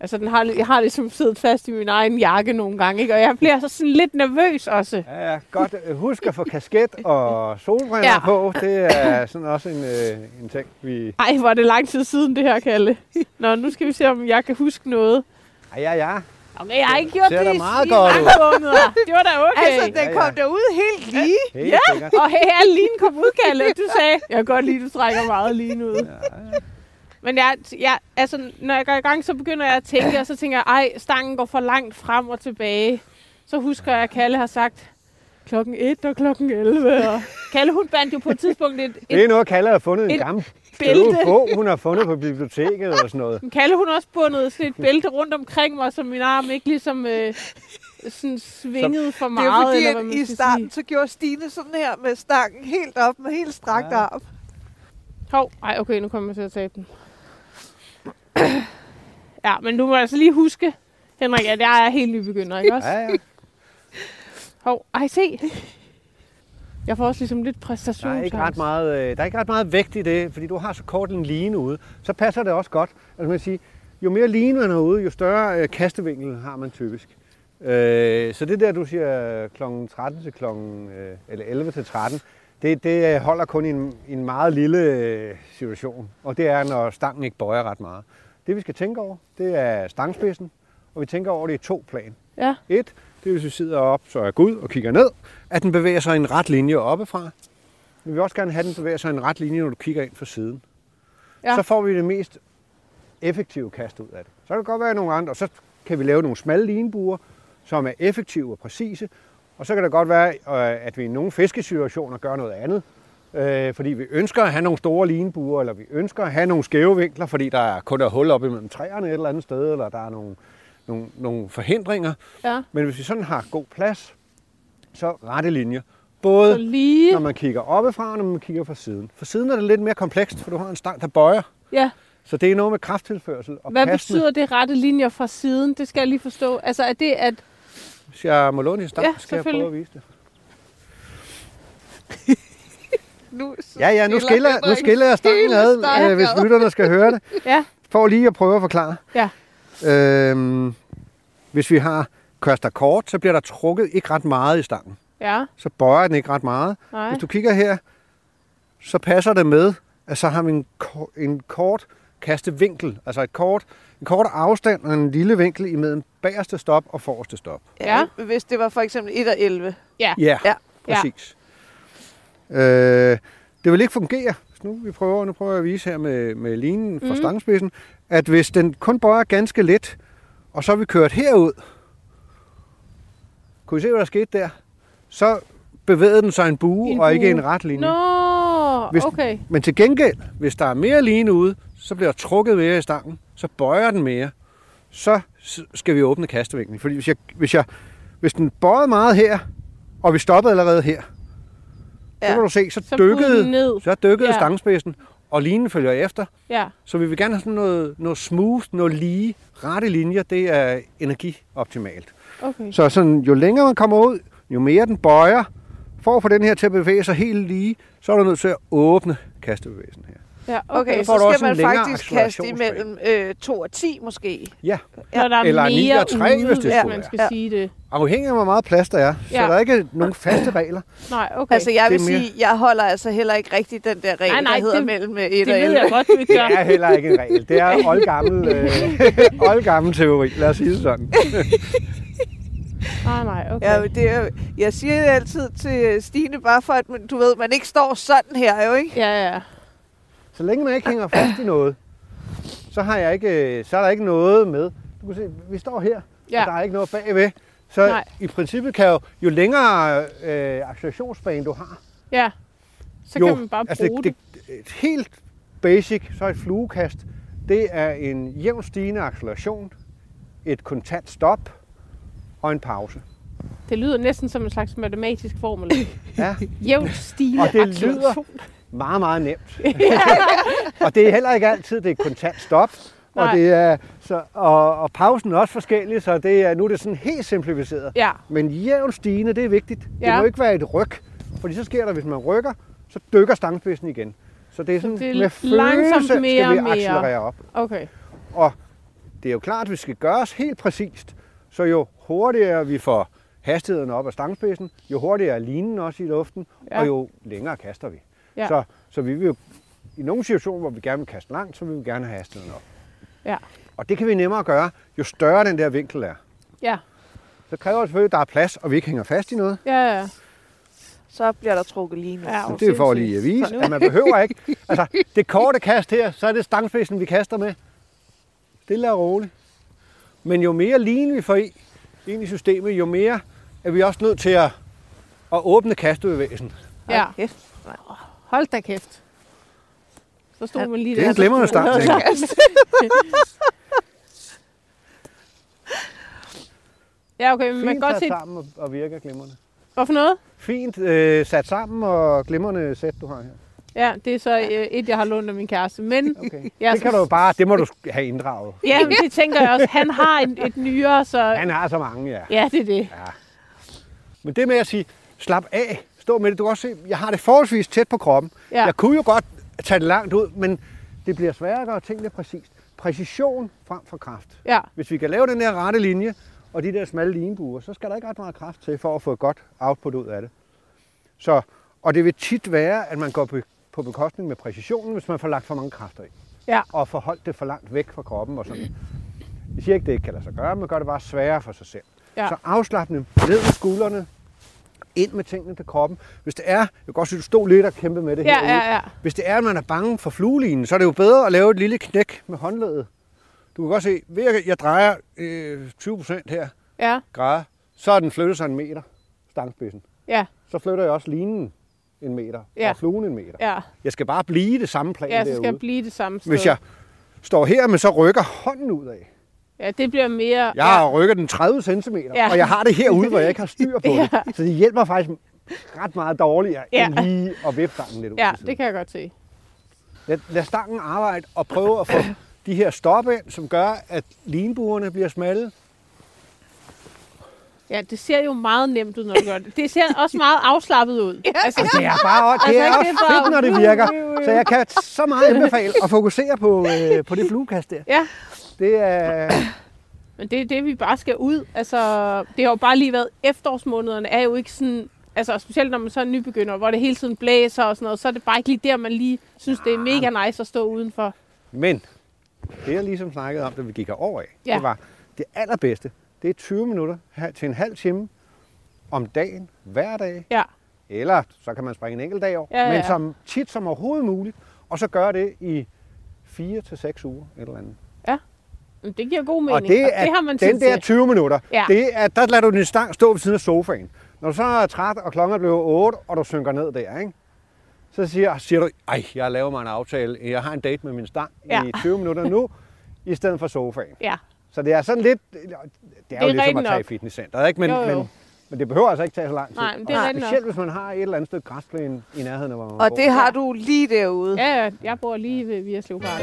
[SPEAKER 2] altså, den har, li- jeg har ligesom siddet fast i min egen jakke nogle gange, ikke? og jeg bliver så sådan lidt nervøs også.
[SPEAKER 5] Ja, ja, godt. Husk at få kasket og solbriller
[SPEAKER 2] Ja.
[SPEAKER 5] ja. på. Det er sådan også en, øh, en ting, vi...
[SPEAKER 2] Ej, hvor er det lang tid siden det her, Kalle. Nå, nu skal vi se, om jeg kan huske noget.
[SPEAKER 5] Ja, ja, ja.
[SPEAKER 2] Okay, jeg har ikke gjort
[SPEAKER 5] Ser
[SPEAKER 2] det
[SPEAKER 5] da
[SPEAKER 2] i
[SPEAKER 5] meget
[SPEAKER 2] i
[SPEAKER 5] godt ud.
[SPEAKER 2] mange måneder. Det var da okay.
[SPEAKER 4] Altså, den
[SPEAKER 5] Ja, ja.
[SPEAKER 4] kom derud helt lige.
[SPEAKER 5] Helt ja. sikkert.
[SPEAKER 2] Og her er lige kom udkaldet. Du sagde, jeg kan godt lide, du strækker meget lige nu. Men jeg, jeg, altså, når jeg går i gang, så begynder jeg at tænke, og så tænker jeg, ej, stangen går for langt frem og tilbage. Så husker jeg, at Kalle har sagt, klokken 1 og klokken 11. Og Kalle, hun bandt jo på et tidspunkt et,
[SPEAKER 5] Det
[SPEAKER 2] et
[SPEAKER 5] er noget, Kalle har fundet en
[SPEAKER 2] et
[SPEAKER 5] gammel
[SPEAKER 2] bælte.
[SPEAKER 5] bøde bog, hun har fundet på biblioteket og sådan noget.
[SPEAKER 2] Men Kalle, hun har også bundet sådan et bælte rundt omkring mig, så min arm ikke ligesom øh, sådan svingede for
[SPEAKER 4] Det er jo
[SPEAKER 2] meget.
[SPEAKER 4] fordi,
[SPEAKER 2] eller hvad
[SPEAKER 4] at
[SPEAKER 2] man
[SPEAKER 4] i
[SPEAKER 2] skal
[SPEAKER 4] starten,
[SPEAKER 2] Sige.
[SPEAKER 4] så gjorde Stine sådan her med stangen helt op, med helt strakt
[SPEAKER 5] Ja.
[SPEAKER 4] ja. arm.
[SPEAKER 2] Hov, ej, okay, nu kommer jeg til at tabe den. ja, men du må altså lige huske, Henrik, at jeg er helt nybegynder, ikke også?
[SPEAKER 5] Ja, ja.
[SPEAKER 2] Hov, ej, se. Jeg får også ligesom lidt
[SPEAKER 5] Der
[SPEAKER 2] præstation.
[SPEAKER 5] er, ikke ret meget, øh, der er ikke ret meget vægt i det, fordi du har så kort en line ude. Så passer det også godt. Altså man siger, jo mere line man har ude, jo større øh, kastevinkel har man typisk. Øh, så det der, du siger kl. 13 til kl. Øh, eller 11 til 13, det, det øh, holder kun i en, i en meget lille øh, situation. Og det er, når stangen ikke bøjer ret meget. Det vi skal tænke over, det er stangspidsen, og vi tænker over det i to plan.
[SPEAKER 2] Ja,
[SPEAKER 5] Et, det er, hvis vi sidder op, så er Gud og kigger ned, at den bevæger sig i en ret linje oppefra. Vi vil også gerne have, at den bevæger sig i en ret linje, når du kigger ind fra siden.
[SPEAKER 2] Ja.
[SPEAKER 5] Ja. Så får vi det mest effektive kast ud af det. Så kan det godt være nogle andre, og så kan vi lave nogle smalle linebuer, som er effektive og præcise. Og så kan det godt være, øh, at vi i nogle fiskesituationer gør noget andet. Øh, fordi vi ønsker at have nogle store linebuer, eller vi ønsker at have nogle skæve vinkler, fordi der er kun er hul op imellem træerne et eller andet sted, eller der er nogle, nogle, nogle forhindringer.
[SPEAKER 2] ja.
[SPEAKER 5] Men hvis vi sådan har god plads, så rette linjer.
[SPEAKER 2] Så
[SPEAKER 5] Både
[SPEAKER 2] lige.
[SPEAKER 5] når man kigger oppefra, og når man kigger fra siden. For siden er det lidt mere komplekst, for du har en stang, der bøjer.
[SPEAKER 2] Ja.
[SPEAKER 5] Så det er noget med krafttilførsel og
[SPEAKER 2] Hvad
[SPEAKER 5] passende.
[SPEAKER 2] betyder det rette linjer fra siden? Det skal jeg lige forstå. Altså, er det, at
[SPEAKER 5] Hvis jeg må låne en stang,
[SPEAKER 2] Ja,
[SPEAKER 5] ja, skal jeg
[SPEAKER 2] selvfølgelig.
[SPEAKER 5] prøve at vise det.
[SPEAKER 4] Nu, så
[SPEAKER 5] Ja, ja, nu skiller, nu
[SPEAKER 4] Henrik
[SPEAKER 5] skiller jeg stangen
[SPEAKER 4] hele
[SPEAKER 5] ad,
[SPEAKER 4] stangen
[SPEAKER 5] øh, hvis
[SPEAKER 4] ad.
[SPEAKER 5] lytterne skal høre det.
[SPEAKER 2] Ja.
[SPEAKER 5] For lige at prøve at forklare.
[SPEAKER 2] Ja.
[SPEAKER 5] Øhm, hvis vi har køster kort, så bliver der trukket ikke ret meget i stangen.
[SPEAKER 2] Ja,
[SPEAKER 5] Så bøjer den ikke ret meget.
[SPEAKER 2] nej.
[SPEAKER 5] Hvis du kigger her, så passer det med, at så har vi en, ko- en kort kastevinkel, altså et kort, en kort afstand og en lille vinkel imellem bagerste stop og forreste stop.
[SPEAKER 4] Ja. Hvis det var for eksempel 1 og 11.
[SPEAKER 5] Ja,
[SPEAKER 4] Ja.
[SPEAKER 5] præcis. Øh, det vil ikke fungere, hvis nu vi prøver, nu prøver jeg at vise her med, med linen fra mm. stangspidsen, at hvis den kun bøjer ganske lidt, og så er vi kørt herud, kunne I se, hvad der skete der? Så bevægede den sig en bue,
[SPEAKER 2] En
[SPEAKER 5] en og ikke
[SPEAKER 2] bue.
[SPEAKER 5] en ret linje.
[SPEAKER 2] Nå,
[SPEAKER 5] Hvis-
[SPEAKER 2] okay.
[SPEAKER 5] Men til gengæld, hvis der er mere line ude, så bliver der trukket mere i stangen, så bøjer den mere, så s- skal vi åbne kastevinklen. Fordi hvis, jeg, hvis, jeg, hvis den bøjede meget her, og vi stoppede allerede her, ja. så
[SPEAKER 4] Ja.
[SPEAKER 5] kan du se, så,
[SPEAKER 2] Så buede den
[SPEAKER 5] dykkede,
[SPEAKER 2] ned.
[SPEAKER 5] så dykkede
[SPEAKER 2] Ja.
[SPEAKER 5] ja. stangspidsen, og linen følger efter.
[SPEAKER 2] Ja,
[SPEAKER 5] Så vi vil gerne have sådan noget, noget smooth, noget lige, rette linjer, det er energioptimalt.
[SPEAKER 2] okay.
[SPEAKER 5] Så sådan, jo længere man kommer ud, jo mere den bøjer, for at få den her til at bevæge sig helt lige, så er du nødt til at åbne kastebevægelsen her.
[SPEAKER 2] Ja,
[SPEAKER 4] Okay,
[SPEAKER 2] okay.
[SPEAKER 5] får
[SPEAKER 4] så
[SPEAKER 5] du også
[SPEAKER 4] skal
[SPEAKER 5] en
[SPEAKER 4] man
[SPEAKER 5] længere
[SPEAKER 4] faktisk kaste
[SPEAKER 5] accelerationsbane.
[SPEAKER 4] imellem øh, 2 og 10 måske.
[SPEAKER 5] Ja,
[SPEAKER 2] Når der er
[SPEAKER 5] Eller ni
[SPEAKER 2] mere
[SPEAKER 5] og tre,
[SPEAKER 2] ude,
[SPEAKER 5] hvis det
[SPEAKER 2] hvis
[SPEAKER 5] skulle
[SPEAKER 2] man
[SPEAKER 5] være.
[SPEAKER 2] skal
[SPEAKER 4] Ja.
[SPEAKER 2] sige det.
[SPEAKER 5] afhængig af, hvor meget plads der er. Ja.
[SPEAKER 2] Ja.
[SPEAKER 5] Så der er ikke nogen faste regler.
[SPEAKER 2] Nej, okay.
[SPEAKER 4] Altså, jeg
[SPEAKER 5] Det
[SPEAKER 4] vil
[SPEAKER 5] er mere-
[SPEAKER 4] sige, jeg holder altså heller ikke rigtig den der regel, nej,
[SPEAKER 2] Nej, nej,
[SPEAKER 4] nej, der hedder
[SPEAKER 2] det-
[SPEAKER 4] mellem 1
[SPEAKER 2] det
[SPEAKER 4] og
[SPEAKER 2] ved
[SPEAKER 4] 11.
[SPEAKER 2] jeg godt, du ikke gør.
[SPEAKER 5] Det er heller ikke en regel. Det er oldgammel, øh, oldgammel teori. Lad os sige det sådan.
[SPEAKER 2] Ah, Nej, nej, okay.
[SPEAKER 4] Ja, men det er, jo- jeg siger det altid til øh, Stine, bare for at man- du ved, man ikke står sådan her, jo ikke?
[SPEAKER 2] Ja, ja.
[SPEAKER 5] Så længe man ikke hænger fast i noget, så, har jeg ikke, øh, så er der ikke noget med. Du kan se, vi står her, ja.
[SPEAKER 2] Ja.
[SPEAKER 5] og Altså, der er ikke noget bagved. Så
[SPEAKER 2] Nej.
[SPEAKER 5] Nej. i princippet kan jo, jo længere øh, accelerationsbane du har,
[SPEAKER 2] ja. Så
[SPEAKER 5] jo, altså,
[SPEAKER 2] kan man bare bruge det.
[SPEAKER 5] det, det. Et helt basic, så et fluekast, det er en jævn stigende acceleration, et kontant stop og en pause.
[SPEAKER 2] det. Det lyder næsten som en slags matematisk formel.
[SPEAKER 5] Ja.
[SPEAKER 2] Jævnt stigende
[SPEAKER 5] Og det lyder-
[SPEAKER 2] acceleration.
[SPEAKER 5] meget, meget nemt. og det er heller ikke altid, det er kontant stop. Og,
[SPEAKER 2] Nej.
[SPEAKER 5] det er, så, og, og pausen er også forskellig, så det er, nu er det sådan helt simplificeret.
[SPEAKER 2] Ja,
[SPEAKER 5] Men jævn stigende, det er vigtigt.
[SPEAKER 2] Ja.
[SPEAKER 5] Det må ikke være et ryg, fordi så sker der, hvis man rykker, så dykker stangspidsen igen. Så det er sådan,
[SPEAKER 2] det er
[SPEAKER 5] med
[SPEAKER 2] langsomt
[SPEAKER 5] følelse
[SPEAKER 2] mere og
[SPEAKER 5] skal vi
[SPEAKER 2] mere.
[SPEAKER 5] accelerere op.
[SPEAKER 2] okay.
[SPEAKER 5] Det er jo klart, at vi skal gøre os helt præcist, så jo hurtigere vi får hastigheden op af stangspidsen, jo hurtigere er linen også i luften,
[SPEAKER 2] Ja.
[SPEAKER 5] ja. og jo længere kaster vi.
[SPEAKER 2] Ja.
[SPEAKER 5] Så, så vi vil jo, i nogle situationer, hvor vi gerne vil kaste langt, så vil vi gerne have hastigheden op.
[SPEAKER 2] Ja.
[SPEAKER 5] Og det kan vi nemmere gøre, jo større den der vinkel er.
[SPEAKER 2] Ja,
[SPEAKER 5] Så kræver det selvfølgelig, at der er plads, og vi ikke hænger fast i noget.
[SPEAKER 2] ja, ja.
[SPEAKER 4] Så bliver der trukket lige nu.
[SPEAKER 2] Ja,
[SPEAKER 4] Ja.
[SPEAKER 5] Men det er for lige at vise, at man behøver ikke. Altså, det korte kast her, så er det stangspidsen, vi kaster med. Stille og roligt. Men jo mere line vi får i, ind i systemet, jo mere er vi også nødt til at, at åbne kastebevægelsen.
[SPEAKER 2] ja.
[SPEAKER 4] Kæft.
[SPEAKER 2] Hold da kæft. Så stod man lige
[SPEAKER 5] Det er
[SPEAKER 2] der.
[SPEAKER 5] en glimrende start, tænker jeg.
[SPEAKER 2] Ja, okay, men man kan
[SPEAKER 5] Fint altså.
[SPEAKER 2] godt
[SPEAKER 5] sat
[SPEAKER 2] se...
[SPEAKER 5] sammen og- og virker glimrende.
[SPEAKER 2] Hvad for noget?
[SPEAKER 5] Fint øh, sat sammen og glimrende sæt, du har her.
[SPEAKER 2] Ja, det er så øh, et, jeg har lånt af min kæreste. Men
[SPEAKER 5] Okay.
[SPEAKER 2] Ja,
[SPEAKER 5] det kan
[SPEAKER 2] så-
[SPEAKER 5] du jo bare, det må du sk- have inddraget.
[SPEAKER 2] ja, men det tænker jeg også. Han har en, et nyere, så...
[SPEAKER 5] Han har så mange, ja.
[SPEAKER 2] Ja, det er det.
[SPEAKER 5] Men det med at sige, slap af, stå med det. Du kan også se, jeg har det forholdsvis tæt på kroppen.
[SPEAKER 2] Ja.
[SPEAKER 5] Ja. Jeg kunne jo godt tage det langt ud, men det bliver sværere at gøre tingene præcist. Præcision frem for kraft.
[SPEAKER 2] Ja,
[SPEAKER 5] Hvis vi kan lave den der rette linje og de der smalle linebuer, så skal der ikke ret meget kraft til for at få et godt output ud af det. Så, og det vil tit være, at man går på- på bekostning med præcisionen, hvis man får lagt for mange kræfter i.
[SPEAKER 2] Ja.
[SPEAKER 5] Og får holdt det for langt væk fra kroppen og sådan. Jeg siger ikke, det ikke kan lade sig gøre, men gør det bare sværere for sig selv.
[SPEAKER 2] Ja.
[SPEAKER 5] Så afslappende ned med skuldrene, ind med tingene til kroppen. Hvis det er, jeg kan godt se, du stod lidt og kæmpe med det
[SPEAKER 2] ja,
[SPEAKER 5] herude.
[SPEAKER 2] ja, ja.
[SPEAKER 5] Hvis det er, at man er bange for fluelinen, så er det jo bedre at lave et lille knæk med håndledet. Du kan godt se, ved at jeg drejer øh, 20 procent her,
[SPEAKER 2] Ja,
[SPEAKER 5] grader, så er den flyttet sig en meter, stangspidsen.
[SPEAKER 2] ja,
[SPEAKER 5] Så flytter jeg også linen en meter,
[SPEAKER 2] Ja.
[SPEAKER 5] ja. og fluen en meter. Ja.
[SPEAKER 2] ja.
[SPEAKER 5] Jeg skal bare blive i det samme plan
[SPEAKER 2] Ja, så skal
[SPEAKER 5] derude.
[SPEAKER 2] jeg blive det samme sted.
[SPEAKER 5] Hvis jeg står her, men så rykker hånden ud af.
[SPEAKER 2] Ja, det bliver mere...
[SPEAKER 5] Jeg ja. rykker den 30 cm,
[SPEAKER 2] Ja.
[SPEAKER 5] ja. og jeg har det herude, hvor jeg ikke har styr på ja. det. Så det hjælper faktisk ret meget dårligere,
[SPEAKER 2] Ja.
[SPEAKER 5] ja. end lige at vippe stangen lidt ud
[SPEAKER 2] Ja,
[SPEAKER 5] til siden.
[SPEAKER 2] det kan jeg godt se.
[SPEAKER 5] Lad, lad stangen arbejde og prøve at få de her stop ind, som gør, at linbuerne bliver smalle.
[SPEAKER 2] Ja, det ser jo meget nemt ud, når du gør det. Det ser også meget afslappet ud. Altså,
[SPEAKER 5] Det er bare det er
[SPEAKER 2] Altså,
[SPEAKER 5] også
[SPEAKER 2] det er bare-
[SPEAKER 5] fedt, når det virker. Så jeg kan så meget anbefale at fokusere på, øh, på det fluekast der.
[SPEAKER 2] ja,
[SPEAKER 5] Det er,
[SPEAKER 2] men det er det, vi bare skal ud. Altså, det har jo bare lige været... Efterårsmånederne er jo ikke sådan... Altså, og specielt når man så er nybegynder, hvor det hele tiden blæser og sådan noget, så er det bare ikke lige der, man lige synes, det er mega nice at stå udenfor.
[SPEAKER 5] men det jeg ligesom snakkede om, da vi gik over af,
[SPEAKER 2] Ja.
[SPEAKER 5] ja. det var det allerbedste. Det er 20 minutter her- til en halv time om dagen, hver dag.
[SPEAKER 2] Ja,
[SPEAKER 5] Eller så kan man springe en enkelt dag over.
[SPEAKER 2] Ja, ja, ja.
[SPEAKER 5] Men som tit som overhovedet muligt. Og så gøre det i 4 til 6 uger, et eller andet.
[SPEAKER 2] men det giver god mening.
[SPEAKER 5] Og det, er,
[SPEAKER 2] det har man tid
[SPEAKER 5] den der
[SPEAKER 2] til.
[SPEAKER 5] 20 minutter,
[SPEAKER 2] Ja.
[SPEAKER 5] ja. det er, der lader du din stang stå ved siden af sofaen. Når du så er træt, og klokken er blevet 8, og du synker ned der, ikke? så siger, siger du, ej, jeg laver mig en aftale. Jeg har en date med min stang
[SPEAKER 2] Ja.
[SPEAKER 5] ja. i 20 minutter nu, i stedet for sofaen.
[SPEAKER 2] Ja,
[SPEAKER 5] Så det er sådan lidt, det er, det er jo
[SPEAKER 2] rigtigt
[SPEAKER 5] ligesom at tage
[SPEAKER 2] nok.
[SPEAKER 5] i fitnesscenteret, ikke? Men,
[SPEAKER 2] Jo, jo.
[SPEAKER 5] Men, men det behøver altså ikke tage så lang tid.
[SPEAKER 2] Nej, men det er
[SPEAKER 5] Og
[SPEAKER 2] rigtigt nok.
[SPEAKER 5] Specielt hvis man har et eller andet stykke græsplæne i nærheden af, hvor man
[SPEAKER 4] Og
[SPEAKER 5] bor.
[SPEAKER 4] det har du lige derude.
[SPEAKER 2] ja, ja, jeg bor lige ved Vierslev Park.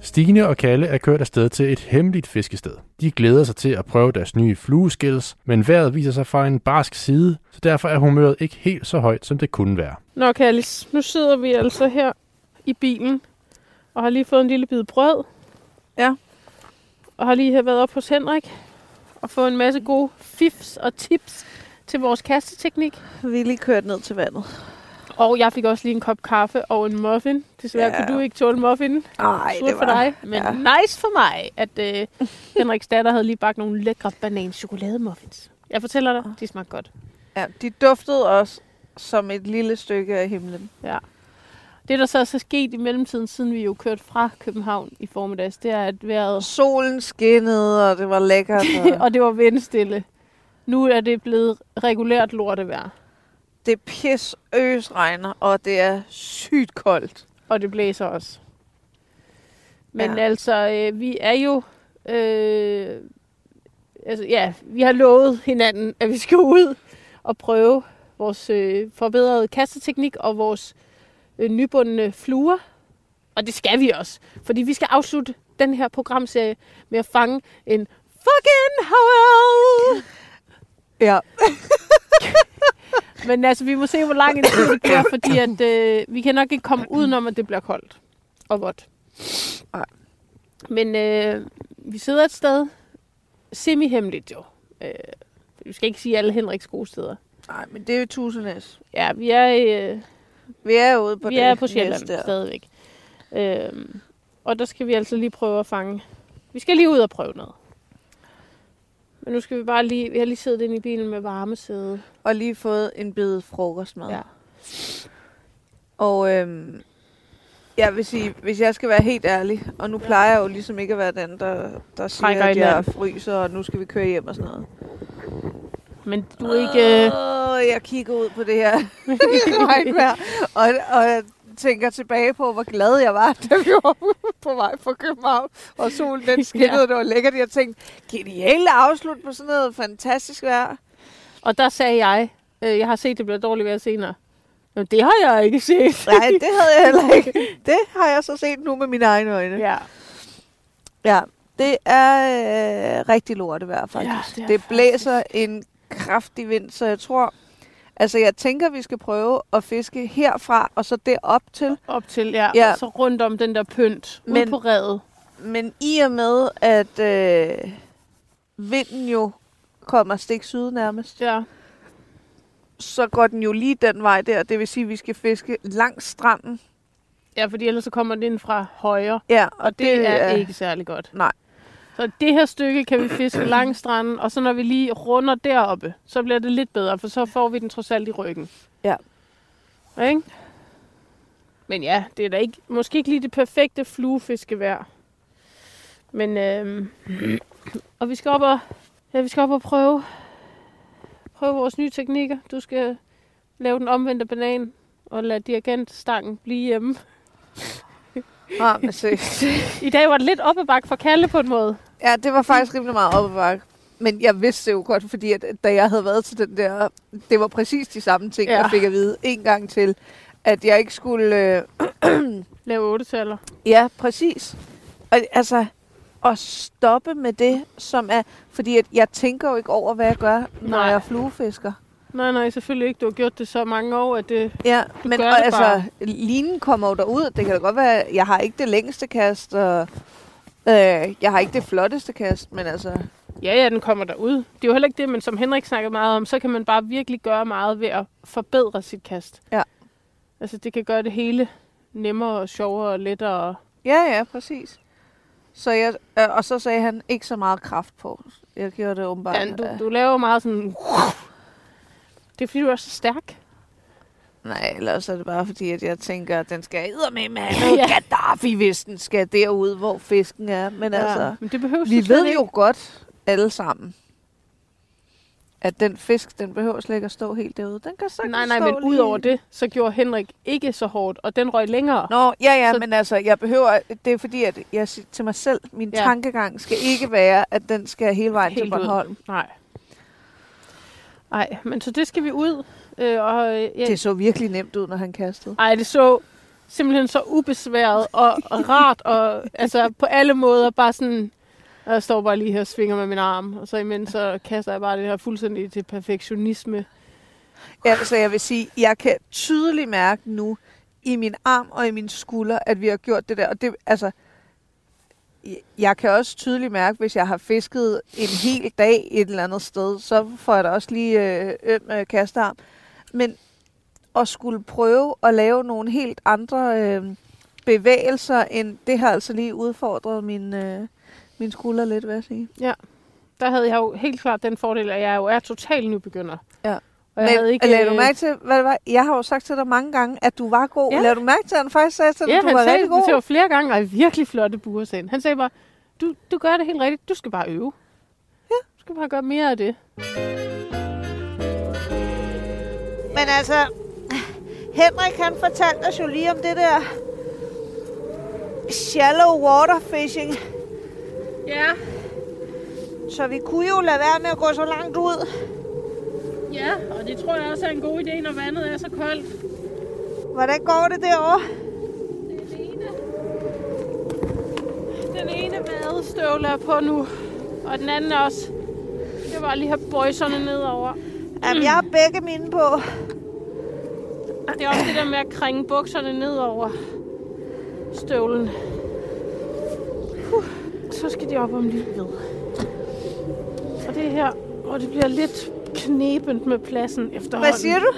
[SPEAKER 3] Stine og Kalle er kørt afsted til et hemmeligt fiskested. De glæder sig til at prøve deres nye flueskills, men vejret viser sig fra en barsk side, så derfor er humøret ikke helt så højt, som det kunne være.
[SPEAKER 2] Nå, Kallis, nu sidder vi altså her i bilen, og har lige fået en lille bid brød.
[SPEAKER 4] Ja.
[SPEAKER 2] Og har lige her været op hos Henrik, og fået en masse gode fifs og tips til vores kasteteknik.
[SPEAKER 4] Vi er lige kørt ned til vandet.
[SPEAKER 2] Og jeg fik også lige en kop kaffe og en muffin. Desværre ja.
[SPEAKER 4] Ja.
[SPEAKER 2] kunne du ikke tåle muffinen.
[SPEAKER 4] Nej,
[SPEAKER 2] Surt for dig. Men
[SPEAKER 4] ja.
[SPEAKER 2] nice for mig, at øh, Henriks datter havde lige bagt nogle lækre banan-chokolademuffins. Jeg fortæller dig, de smagte godt.
[SPEAKER 4] Ja, de duftede også som et lille stykke af himlen.
[SPEAKER 2] Det, der så er så sket i mellemtiden, siden vi jo kørte fra København i formiddags, det er, at vejret
[SPEAKER 4] Solen skinnede, og det var lækkert. Og
[SPEAKER 2] og det var vindstille. Nu er det blevet regulært lortevejr,
[SPEAKER 4] det er pis øs regner, og det er sygt koldt.
[SPEAKER 2] og det blæser også. Men ja.
[SPEAKER 4] Ja.
[SPEAKER 2] altså, øh, vi er jo... Øh, altså, ja, vi har lovet hinanden, at vi skal ud og prøve vores øh, forbedrede kasteteknik og vores øh, nybundne fluer. Og det skal vi også, fordi vi skal afslutte den her programserie med at fange en fucking howl!
[SPEAKER 4] Ja.
[SPEAKER 2] Men altså, vi må se, hvor lang en tid det bliver, fordi at, øh, vi kan nok ikke komme udenom, at det bliver koldt og vådt.
[SPEAKER 4] Nej.
[SPEAKER 2] Men øh, vi sidder et sted, semi-hemmeligt jo. Øh, vi skal ikke sige alle Henriks gode steder.
[SPEAKER 4] Nej, men det er jo tusindæs.
[SPEAKER 2] Ja, vi er, øh,
[SPEAKER 4] Vi er jo ude på
[SPEAKER 2] vi
[SPEAKER 4] det
[SPEAKER 2] er på
[SPEAKER 4] næs
[SPEAKER 2] Sjælland
[SPEAKER 4] der.
[SPEAKER 2] stadigvæk. Øh, og der skal vi altså lige prøve at fange Vi skal lige ud og prøve noget. Men nu skal vi bare lige... Vi har lige siddet inde i bilen med varmesæde.
[SPEAKER 4] Og lige fået en bid frokostmad.
[SPEAKER 2] Ja.
[SPEAKER 4] Og øhm, jeg vil sige, hvis jeg skal være helt ærlig, og nu plejer jeg jo ligesom ikke at være den, der, der siger,
[SPEAKER 2] Trækker
[SPEAKER 4] at
[SPEAKER 2] i
[SPEAKER 4] jeg
[SPEAKER 2] land.
[SPEAKER 4] fryser, og nu skal vi køre hjem og sådan noget.
[SPEAKER 2] Men du er ikke... øh,
[SPEAKER 4] Åh, jeg kigger ud på det her regnvejr, og, og jeg tænker tilbage på, hvor glad jeg var, da vi var på vej fra København, og solen den skinnede,
[SPEAKER 2] Ja.
[SPEAKER 4] ja. det var lækkert. Jeg tænkte, genialt afslut på sådan noget fantastisk vejr.
[SPEAKER 2] Og der sagde jeg... Øh, jeg har set, det bliver dårligt vejr senere. Men det har jeg ikke set.
[SPEAKER 4] Nej, det havde jeg heller ikke. Det har jeg så set nu med mine egne øjne.
[SPEAKER 2] ja.
[SPEAKER 4] Ja, det er øh, rigtig lortevejr faktisk.
[SPEAKER 2] det
[SPEAKER 4] Ja,
[SPEAKER 2] er
[SPEAKER 4] det, det blæser en kraftig vind, så jeg tror... Altså, jeg tænker, vi skal prøve at fiske herfra og så derop til.
[SPEAKER 2] Op til, ja.
[SPEAKER 4] Ja.
[SPEAKER 2] Og så rundt om den der pynt. Men...
[SPEAKER 4] Men-
[SPEAKER 2] Ud på redet.
[SPEAKER 4] Men i og med, at øh, vinden jo kommer stik syd nærmest,
[SPEAKER 2] Ja.
[SPEAKER 4] så går den jo lige den vej der. Det vil sige, at vi skal fiske langs stranden.
[SPEAKER 2] ja, fordi ellers så kommer den ind fra højre.
[SPEAKER 4] Ja, og,
[SPEAKER 2] Og det, det er ikke særlig godt.
[SPEAKER 4] Nej.
[SPEAKER 2] Så det her stykke kan vi fiske langs stranden, og så når vi lige runder deroppe, så bliver det lidt bedre, for så får vi den trods alt i ryggen.
[SPEAKER 4] Ja.
[SPEAKER 2] Ikke? Men ja, det er da ikke, måske ikke lige det perfekte fluefiskevejr. Men øhm, og vi skal op og, ja, vi skal op og prøve, prøve vores nye teknikker. Du skal lave den omvendte banan og lade dirigentstangen blive hjemme.
[SPEAKER 4] Ja, men se.
[SPEAKER 2] I dag var det lidt op ad bakke for Kalle på en måde.
[SPEAKER 4] Ja, det var faktisk rimelig meget op ad bakke. Men jeg vidste det jo godt, fordi at, da jeg havde været til den der, det var præcis de samme ting,
[SPEAKER 2] Ja.
[SPEAKER 4] ja. jeg fik at vide en gang til, at jeg ikke skulle... Øh,
[SPEAKER 2] Lave otte taller.
[SPEAKER 4] ja, præcis. Og, altså, at stoppe med det, som er... Fordi at jeg tænker jo ikke over, hvad jeg gør, når
[SPEAKER 2] Nej.
[SPEAKER 4] jeg fluefisker.
[SPEAKER 2] Nej, nej, selvfølgelig ikke. Du har gjort det så mange år, at øh, det...
[SPEAKER 4] Ja, men
[SPEAKER 2] gør
[SPEAKER 4] og,
[SPEAKER 2] det
[SPEAKER 4] altså,
[SPEAKER 2] bare.
[SPEAKER 4] linen kommer jo derud. Det kan da godt være, jeg har ikke det længste kast, og øh, jeg har ikke det flotteste kast, men altså...
[SPEAKER 2] Ja, ja, den kommer derud. Det er jo heller ikke det, men som Henrik snakkede meget om, så kan man bare virkelig gøre meget ved at forbedre sit kast.
[SPEAKER 4] Ja.
[SPEAKER 2] Altså, det kan gøre det hele nemmere og sjovere og lettere. og-
[SPEAKER 4] Ja, ja, præcis. Så jeg, øh, og så sagde han, ikke så meget kraft på. Jeg gjorde det åbenbart.
[SPEAKER 2] Ja, du,
[SPEAKER 4] øh,
[SPEAKER 2] du laver meget sådan... Det er fordi, du er så stærk.
[SPEAKER 4] Nej, ellers er det bare fordi, at jeg tænker, at den skal med med
[SPEAKER 2] Ja.
[SPEAKER 4] ja. Gaddafi, hvis den skal derud, hvor fisken er. Men ja. altså,
[SPEAKER 2] Men det behøver
[SPEAKER 4] vi ved jo godt alle sammen, at den fisk, den behøver slet ikke at stå helt derude. Den kan sagtens
[SPEAKER 2] Nej, nej,
[SPEAKER 4] stå
[SPEAKER 2] men
[SPEAKER 4] lige...
[SPEAKER 2] ud over det, så gjorde Henrik ikke så hårdt, og den røg længere.
[SPEAKER 4] Nå, ja, ja,
[SPEAKER 2] Så-
[SPEAKER 4] så... men altså, jeg behøver, det er fordi, at jeg siger til mig selv, min
[SPEAKER 2] Ja.
[SPEAKER 4] ja. tankegang skal ikke være, at den skal hele vejen
[SPEAKER 2] Helt
[SPEAKER 4] til
[SPEAKER 2] ud.
[SPEAKER 4] Bornholm.
[SPEAKER 2] Nej. Nej, men så det skal vi ud. Øh, og, øh, ja.
[SPEAKER 4] Det så virkelig nemt ud, når han kastede.
[SPEAKER 2] Ej, det så simpelthen så ubesværet og, og rart, og altså på alle måder bare sådan, og jeg står bare lige her og svinger med min arm, og så imens så kaster jeg bare det her fuldstændig til perfektionisme.
[SPEAKER 4] Ja, så jeg vil sige, jeg kan tydeligt mærke nu i min arm og i min skulder, at vi har gjort det der. Og det, altså, jeg- jeg kan også tydeligt mærke, hvis jeg har fisket en hel dag et eller andet sted, så får jeg da også lige øh, øm øh, kastearm. Men at skulle prøve at lave nogle helt andre øh, bevægelser, end det har altså lige udfordret min, øh, min skulder lidt, vil jeg sige.
[SPEAKER 2] Der havde jeg jo helt klart den fordel, at jeg jo er total nybegynder.
[SPEAKER 4] Ja.
[SPEAKER 2] Og jeg
[SPEAKER 4] Men
[SPEAKER 2] havde ikke...
[SPEAKER 4] lagde du
[SPEAKER 2] øh,
[SPEAKER 4] mærke til, hvad det var? Jeg har jo sagt til dig mange gange, at du var god.
[SPEAKER 2] Ja.
[SPEAKER 4] Ja. Lagde du mærke til, at han faktisk sagde til dig,
[SPEAKER 2] Ja,
[SPEAKER 4] at du
[SPEAKER 2] han
[SPEAKER 4] var
[SPEAKER 2] sagde
[SPEAKER 4] rigtig
[SPEAKER 2] det til
[SPEAKER 4] god?
[SPEAKER 2] mig flere gange, og virkelig flotte buer, sagde han. Han sagde bare, du, du gør det helt rigtigt, du skal bare øve. Ja. Du skal bare gøre mere af det.
[SPEAKER 6] Men altså, Henrik han fortalte os jo lige om det der shallow water fishing.
[SPEAKER 2] Ja,
[SPEAKER 6] Så vi kunne jo lade være med at gå så langt ud.
[SPEAKER 2] ja, og det tror jeg også er en god idé, når vandet er så koldt.
[SPEAKER 6] Hvordan går det derovre?
[SPEAKER 2] Den ene, den ene vadestøvle er på nu, og den anden også. Det var lige have bøjserne nedover.
[SPEAKER 6] Jamen, jeg har begge mine på.
[SPEAKER 2] Det er også det der med at kringe bukserne nedover støvlen. Huh. Så skal de op om lige ved. Og det er her, hvor det bliver lidt knebent med pladsen efterhånden.
[SPEAKER 4] Hvad siger du?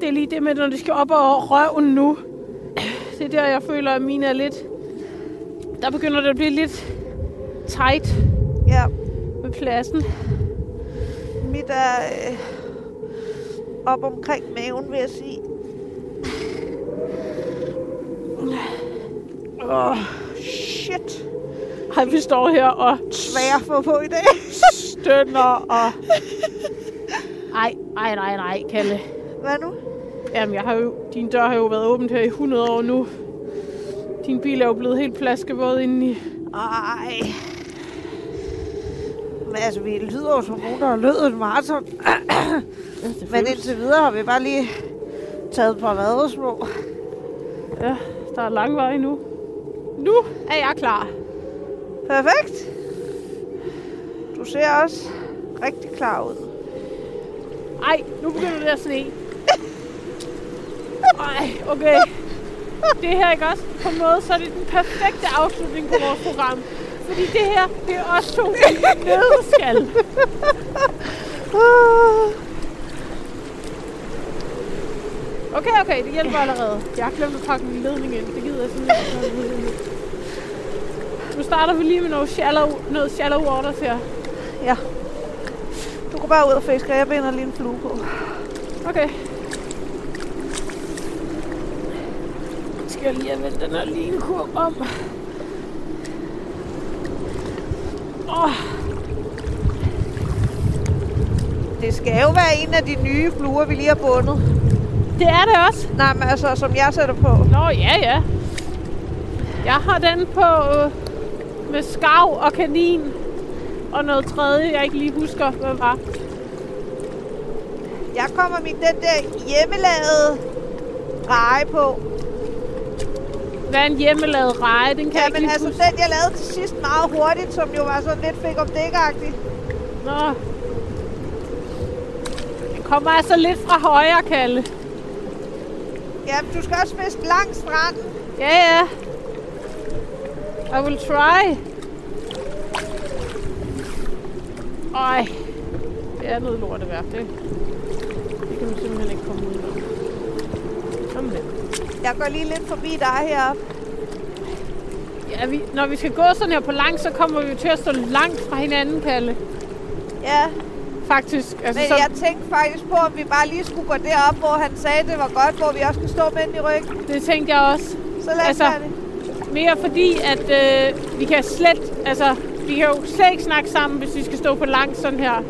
[SPEAKER 2] Det er lige det med, når de skal op og røven nu. Det er der, jeg føler, at mine er lidt... Der begynder det at blive lidt tight
[SPEAKER 4] Ja,
[SPEAKER 2] med pladsen.
[SPEAKER 4] mit er øh, op omkring maven, vil jeg sige. Åh, oh, shit.
[SPEAKER 2] Ej, vi står her og
[SPEAKER 4] Hvad jeg får på i dag?
[SPEAKER 2] stønner og... Ej, ej, nej, nej, Kalle.
[SPEAKER 4] Hvad nu?
[SPEAKER 2] Jamen, jeg har jo, din dør har jo været åbent her i 100 år nu. Din bil er jo blevet helt plaskevåd indeni.
[SPEAKER 4] Ej. Men altså, vi lyder jo som nogen, der har løbet en maraton. Men indtil videre har vi bare lige taget et par vadesmå.
[SPEAKER 2] Ja, der er lang vej nu. Nu er jeg klar.
[SPEAKER 4] Perfekt. Du ser også rigtig klar ud.
[SPEAKER 2] Ej, nu begynder det at sne. Ej, okay. Det her, ikke også? På en måde, så er det den perfekte afslutning på vores program. Fordi det her, det er også to nødskal. Okay, okay, det hjælper allerede. Jeg har glemt at pakke min ledning ind. Det gider jeg simpelthen ikke. Nu starter vi lige med noget shallow, noget shallow waters her.
[SPEAKER 4] Du går bare ud og fiske, og jeg binder lige en flue på.
[SPEAKER 2] Okay. Skal jeg lige have vendt den her lille kurv om? Åh, oh,
[SPEAKER 4] Det skal jo være en af de nye fluer, vi lige har bundet.
[SPEAKER 2] det er det også.
[SPEAKER 4] Nej, men altså, som jeg sætter på.
[SPEAKER 2] Nå, ja, ja. Jeg har den på øh, med skav og kanin. Og noget tredje, jeg ikke lige husker, hvad var.
[SPEAKER 4] Jeg kommer med den der hjemmelavede reje på.
[SPEAKER 2] Hvad er en hjemmelavet reje? Den kan
[SPEAKER 4] Ja,
[SPEAKER 2] jeg ikke
[SPEAKER 4] men
[SPEAKER 2] lige
[SPEAKER 4] altså
[SPEAKER 2] huske.
[SPEAKER 4] den, jeg lavede til sidst meget hurtigt, som jo var sådan lidt fik om dækagtig.
[SPEAKER 2] Nå. Den kommer altså lidt fra højre, Kalle.
[SPEAKER 4] Ja, men du skal også fiske langs stranden.
[SPEAKER 2] Ja, ja. I will try. Ej, det er noget lort at være. Det, det kan du simpelthen ikke komme ud af. Kom med.
[SPEAKER 4] Jeg går lige lidt forbi dig heroppe.
[SPEAKER 2] Ja, vi, når vi skal gå sådan her på langt, så kommer vi jo til at stå langt fra hinanden, Kalle.
[SPEAKER 4] Ja,
[SPEAKER 2] Faktisk. Altså,
[SPEAKER 4] men
[SPEAKER 2] så,
[SPEAKER 4] jeg tænkte faktisk på, om vi bare lige skulle gå derop, hvor han sagde, det var godt, hvor vi også kunne stå med den i ryggen.
[SPEAKER 2] Det tænkte jeg også.
[SPEAKER 4] Så lad os
[SPEAKER 2] Altså,
[SPEAKER 4] gøre det.
[SPEAKER 2] Mere fordi, at øh, vi kan slet, altså, vi kan jo slet ikke snakke sammen, hvis vi skal stå på langt sådan her.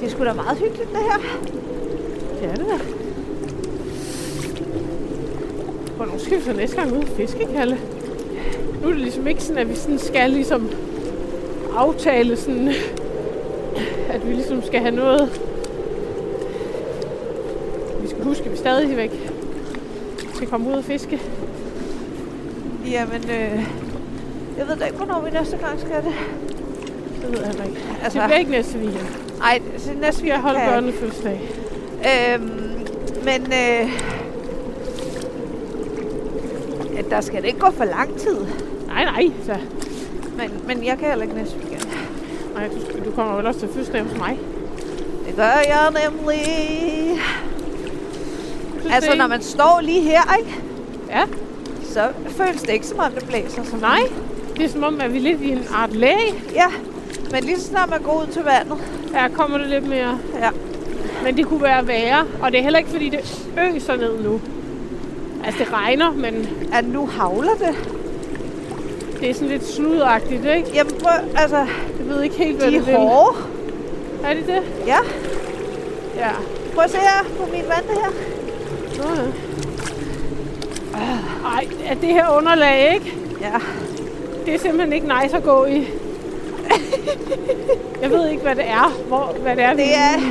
[SPEAKER 4] Det er sgu da meget hyggeligt, det her.
[SPEAKER 2] Det er det da. Hvornår skal vi så næste gang ud og fiske, Kalle? Nu er det ligesom ikke sådan, at vi sådan skal ligesom aftale sådan, at vi ligesom skal have noget. Vi skal huske, at vi stadigvæk skal komme ud og fiske.
[SPEAKER 4] Jamen, øh, jeg ved da ikke, hvornår vi næste gang skal det.
[SPEAKER 2] Det ved jeg heller ikke.
[SPEAKER 4] Altså,
[SPEAKER 2] Det bliver ikke næste weekend.
[SPEAKER 4] ej, så næste
[SPEAKER 2] Vi har
[SPEAKER 4] weekend
[SPEAKER 2] holdt
[SPEAKER 4] kan jeg
[SPEAKER 2] børnefødselsdag.
[SPEAKER 4] Øhm, men øh, at der skal det ikke gå for lang tid.
[SPEAKER 2] Nej, nej. Så.
[SPEAKER 4] Men, men jeg kan heller ikke næste weekend.
[SPEAKER 2] nej du, du kommer vel også til fødselsdag hos mig.
[SPEAKER 4] Det gør jeg nemlig.
[SPEAKER 2] Fødselsdag.
[SPEAKER 4] Altså, når man står lige her, ikke?
[SPEAKER 2] Ja.
[SPEAKER 4] Så føles det ikke, som om det blæser så
[SPEAKER 2] Nej, det er som om, at vi er lidt i en art læge.
[SPEAKER 4] Ja, men lige så snart man går ud til vandet.
[SPEAKER 2] Ja, kommer det lidt mere.
[SPEAKER 4] Ja.
[SPEAKER 2] Men det kunne være værre. Og det er heller ikke, fordi det øser ned nu. Altså, det regner, men
[SPEAKER 4] Ja, nu havler det.
[SPEAKER 2] det er sådan lidt sludagtigt, ikke?
[SPEAKER 4] Jamen, prøv, altså,
[SPEAKER 2] Jeg ved ikke helt, hvad
[SPEAKER 4] de
[SPEAKER 2] det
[SPEAKER 4] er
[SPEAKER 2] vil.
[SPEAKER 4] hårde.
[SPEAKER 2] Er det det?
[SPEAKER 4] Ja,
[SPEAKER 2] Ja.
[SPEAKER 4] prøv at se her på min vand her.
[SPEAKER 2] Nå, ja. Ej, er det her underlag, ikke?
[SPEAKER 4] Ja.
[SPEAKER 2] Det er simpelthen ikke nice at gå i. Jeg ved ikke, hvad det er. Hvor, hvad det er, vi-
[SPEAKER 4] Det er,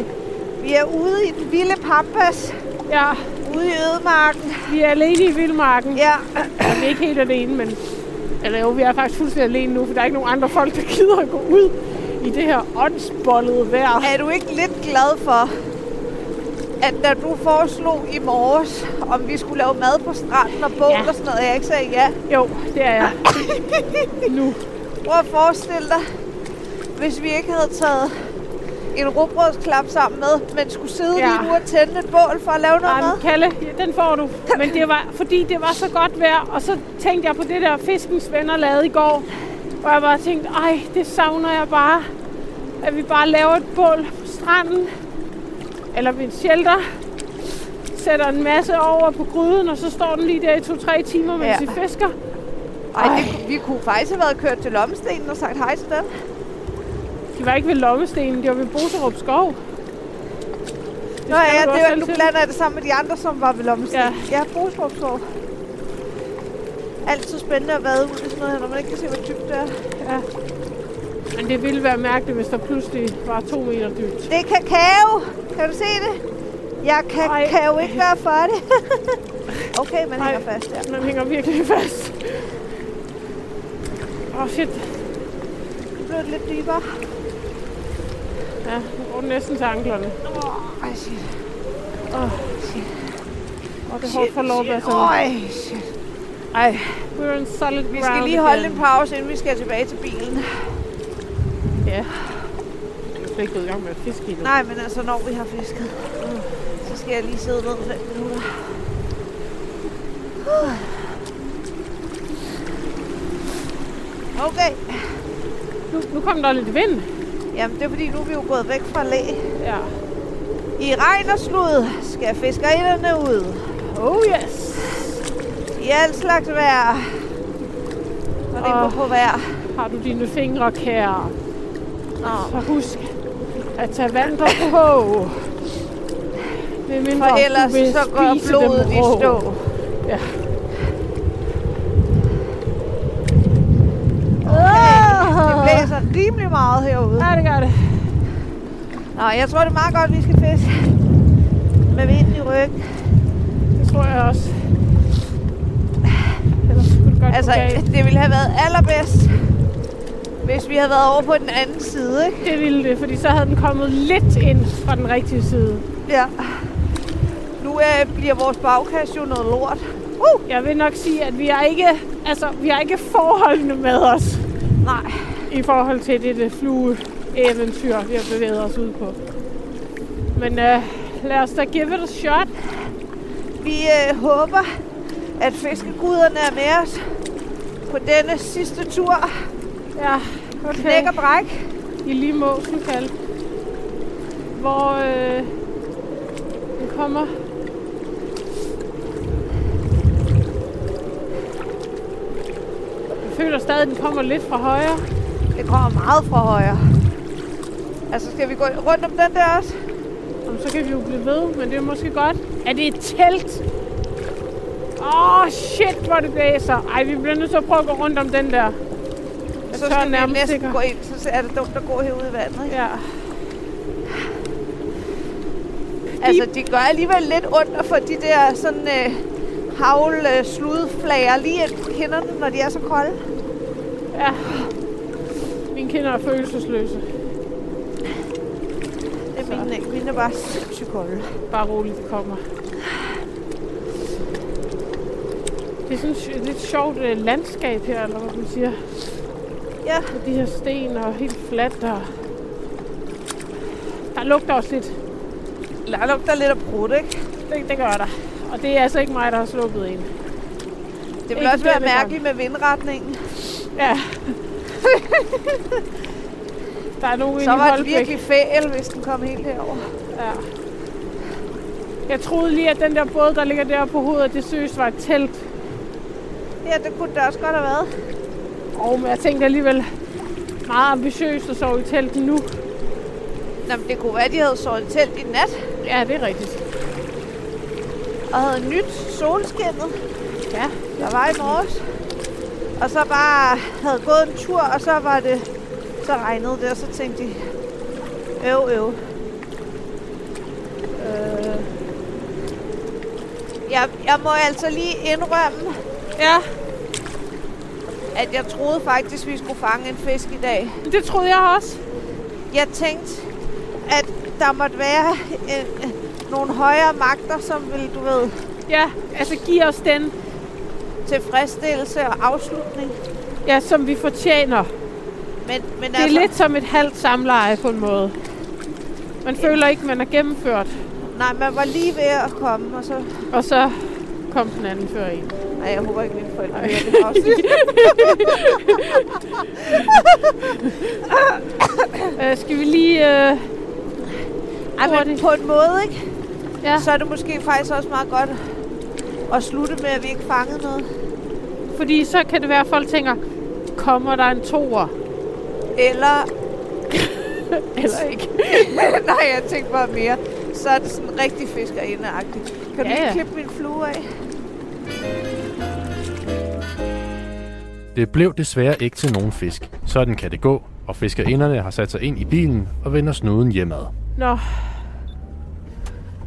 [SPEAKER 4] vi er ude i den vilde pampas.
[SPEAKER 2] Ja,
[SPEAKER 4] Ude i ødemarken.
[SPEAKER 2] vi er alene i vildmarken.
[SPEAKER 4] Ja,
[SPEAKER 2] Altså, vi er ikke helt alene, men... Eller jo, vi er faktisk fuldstændig alene nu, for der er ikke nogen andre folk, der gider at gå ud i det her åndsbollede vejr.
[SPEAKER 4] er du ikke lidt glad for, at da du foreslog i morges, om vi skulle lave mad på stranden og bål
[SPEAKER 2] Ja.
[SPEAKER 4] ja. og sådan noget, jeg ikke sagde ja.
[SPEAKER 2] Jo, det er jeg. nu.
[SPEAKER 4] Prøv at forestille dig, hvis vi ikke havde taget en rugbrødsklap sammen med, men skulle sidde
[SPEAKER 2] Ja.
[SPEAKER 4] ja. lige nu og tænde et bål for at lave noget
[SPEAKER 2] Ej, men
[SPEAKER 4] mad.
[SPEAKER 2] Kalle, ja, den får du. Men det var, fordi det var så godt vejr, og så tænkte jeg på det der fiskens venner lavede i går. Hvor jeg bare tænkte, ej, det savner jeg bare. At vi bare laver et bål på stranden. Eller ved en shelter. Sætter en masse over på gryden, og så står den lige der i to-tre timer, mens ja.
[SPEAKER 4] Ja.
[SPEAKER 2] I fisker.
[SPEAKER 4] Ej, det, kunne- vi kunne faktisk have været kørt til Lommestenen og sagt hej til dem.
[SPEAKER 2] De var ikke ved Lommestenen, de var ved Boserup Skov. Det
[SPEAKER 4] Nå
[SPEAKER 2] skal
[SPEAKER 4] ja,
[SPEAKER 2] du
[SPEAKER 4] det
[SPEAKER 2] også
[SPEAKER 4] var,
[SPEAKER 2] selv
[SPEAKER 4] nu
[SPEAKER 2] til.
[SPEAKER 4] blander jeg det sammen med de andre, som var ved Lommestenen. Ja, ja Brugstrupsov. Altid spændende at vade ud i sådan noget her, når man ikke kan se, hvor dybt det er.
[SPEAKER 2] Men det ville være mærkeligt, hvis der pludselig var to meter dybt.
[SPEAKER 4] Det er kakao! Kan du se det? Jeg kan,
[SPEAKER 2] Ej.
[SPEAKER 4] kan jo ikke være for det. okay, man
[SPEAKER 2] Ej.
[SPEAKER 4] hænger fast der.
[SPEAKER 2] Man hænger virkelig fast. Åh oh, shit,
[SPEAKER 4] Nu blev det lidt dybere.
[SPEAKER 2] ja, nu går den næsten til anklerne.
[SPEAKER 4] Ej, shit.
[SPEAKER 2] Og det er hårdt for lov, sådan.
[SPEAKER 4] Øj, shit.
[SPEAKER 2] Ej, we're on solid ground
[SPEAKER 4] Vi skal lige holde
[SPEAKER 2] again.
[SPEAKER 4] en pause, inden vi skal tilbage til bilen.
[SPEAKER 2] Jeg er slet ikke gået i gang med at fiske endnu.
[SPEAKER 4] Nej, men altså, når vi har fisket, øh, så skal jeg lige sidde ned 5 minutter. Uh. Okay.
[SPEAKER 2] Nu, nu kom der lidt vind.
[SPEAKER 4] Jamen, det er fordi, nu er vi jo gået væk fra læ.
[SPEAKER 2] Ja.
[SPEAKER 4] I regn og slud skal fiskerinderne ud.
[SPEAKER 2] Oh yes.
[SPEAKER 4] I alt slags vejr. Og det går
[SPEAKER 2] Åh.
[SPEAKER 4] på vejr.
[SPEAKER 2] Har du dine fingre, kære?
[SPEAKER 4] Nå.
[SPEAKER 2] Så husk at tage vand på. Med mindre,
[SPEAKER 4] For
[SPEAKER 2] du
[SPEAKER 4] ellers
[SPEAKER 2] vil
[SPEAKER 4] så går
[SPEAKER 2] spise dem
[SPEAKER 4] blodet i
[SPEAKER 2] rå.
[SPEAKER 4] stå.
[SPEAKER 2] Ja.
[SPEAKER 4] Okay,
[SPEAKER 2] Ah.
[SPEAKER 4] det blæser rimelig meget herude.
[SPEAKER 2] Ja, det gør det.
[SPEAKER 4] Nå, jeg tror, det er meget godt, vi skal fiske med vinden i ryggen.
[SPEAKER 2] Det tror jeg også. Ellers kunne det godt
[SPEAKER 4] Altså,
[SPEAKER 2] altså, gå galt.
[SPEAKER 4] det ville have været allerbedst, hvis vi havde været over på den anden side, ikke?
[SPEAKER 2] Det ville det, fordi så havde den kommet lidt ind fra den rigtige side.
[SPEAKER 4] Ja. Nu øh, bliver vores bagkast jo noget lort. Uh!
[SPEAKER 2] Jeg vil nok sige, at vi er ikke, altså, vi er ikke forholdene med os
[SPEAKER 4] Nej.
[SPEAKER 2] i forhold til det, det flueeventyr, vi har bevæget os ud på. Men øh, lad os da give it a shot.
[SPEAKER 4] Vi øh, håber, at fiskeguderne er med os på denne sidste tur.
[SPEAKER 2] Ja,
[SPEAKER 4] Knæk
[SPEAKER 2] okay.
[SPEAKER 4] og bræk.
[SPEAKER 2] I lige måsen kaldt. Hvor øh, den kommer. Jeg føler stadig, at den kommer lidt fra højre.
[SPEAKER 4] Det kommer meget fra højre. Altså, skal vi gå rundt om den der også?
[SPEAKER 2] Jamen, så kan vi jo blive ved, men det er måske godt. Er det et telt? Åh, oh, shit, hvor det blæser. Ej, vi bliver nødt til at prøve at gå rundt om den der. Jeg
[SPEAKER 4] Så
[SPEAKER 2] tør
[SPEAKER 4] skal vi
[SPEAKER 2] nærmest
[SPEAKER 4] næsten
[SPEAKER 2] ikke.
[SPEAKER 4] gå ind, så er det dumt at gå herude i vandet. Ikke?
[SPEAKER 2] Ja.
[SPEAKER 4] Altså, det gør alligevel lidt ondt at få de der sådan øh, havl øh, sludflager lige ind på kinderne, når de er så kolde.
[SPEAKER 2] Ja. Mine kinder er følelsesløse.
[SPEAKER 4] Det er mine, ikke. mine er bare sindssygt kolde.
[SPEAKER 2] Bare roligt, det kommer. Det er sådan et lidt sjovt øh, landskab her, eller hvad man siger.
[SPEAKER 4] Ja.
[SPEAKER 2] Med de her sten og helt fladt. Og... Der lugter også lidt.
[SPEAKER 4] Der lugter lidt af brudt, ikke?
[SPEAKER 2] Det, det gør der. Og det er altså ikke mig, der har sluppet en.
[SPEAKER 4] Det vil
[SPEAKER 2] Ikke
[SPEAKER 4] også være
[SPEAKER 2] denne gang.
[SPEAKER 4] mærkeligt med vindretningen.
[SPEAKER 2] Ja. der er nogen
[SPEAKER 4] Så
[SPEAKER 2] inde i
[SPEAKER 4] var det
[SPEAKER 2] Holbæk.
[SPEAKER 4] virkelig fæl, hvis den kom helt herover.
[SPEAKER 2] Ja. Jeg troede lige, at den der båd, der ligger deroppe på hovedet, det seriøst var et telt.
[SPEAKER 4] Ja, det kunne det også godt have været.
[SPEAKER 2] Og men jeg tænkte alligevel meget ambitiøst at sove i telten nu.
[SPEAKER 4] Nå, men det kunne være, at de havde sovet i telt i nat
[SPEAKER 2] Ja, det er rigtigt.
[SPEAKER 4] og havde nyt solskinnet.
[SPEAKER 2] Ja.
[SPEAKER 4] Der var i morges. Og så bare havde gået en tur, og så var det... Så regnede det, og så tænkte de... Øv, øv.
[SPEAKER 2] Øh,
[SPEAKER 4] Jeg, jeg må altså lige indrømme,
[SPEAKER 2] ja,
[SPEAKER 4] at jeg troede faktisk, vi skulle fange en fisk i dag.
[SPEAKER 2] det troede jeg også.
[SPEAKER 4] Jeg tænkte, at der måtte være
[SPEAKER 7] øh,
[SPEAKER 4] en, nogle højere magter, som ville, du ved,
[SPEAKER 2] Ja, altså giv os den,
[SPEAKER 4] tilfredsstillelse og afslutning.
[SPEAKER 2] ja, som vi fortjener.
[SPEAKER 4] Men, men
[SPEAKER 2] Det
[SPEAKER 7] altså,
[SPEAKER 2] er lidt som et halvt samleje på en måde. Man føler ikke, man er gennemført.
[SPEAKER 4] Nej, man var lige ved at komme, og så
[SPEAKER 2] Og så kom den anden før en.
[SPEAKER 7] Nej, jeg håber ikke, mine forældre hører det også.
[SPEAKER 2] Øh, skal vi lige... Øh,
[SPEAKER 7] Ej, men
[SPEAKER 2] hurtigt?
[SPEAKER 7] på en måde, ikke?
[SPEAKER 2] Ja.
[SPEAKER 7] Så er det måske faktisk også meget godt at slutte med, at vi ikke fangede noget.
[SPEAKER 2] Fordi så kan det være, at folk tænker, kommer der en toer?
[SPEAKER 7] Eller,
[SPEAKER 2] Eller ikke?
[SPEAKER 7] nej, jeg tænkte bare mere, så er det sådan rigtig fiskerindeagtigt. Kan du
[SPEAKER 2] Ja,
[SPEAKER 7] ikke
[SPEAKER 2] ja.
[SPEAKER 7] klippe min flue af?
[SPEAKER 3] Det blev desværre ikke til nogen fisk. Sådan kan det gå, og fiskerinderne har sat sig ind i bilen og vender snuden hjemad.
[SPEAKER 2] Nå.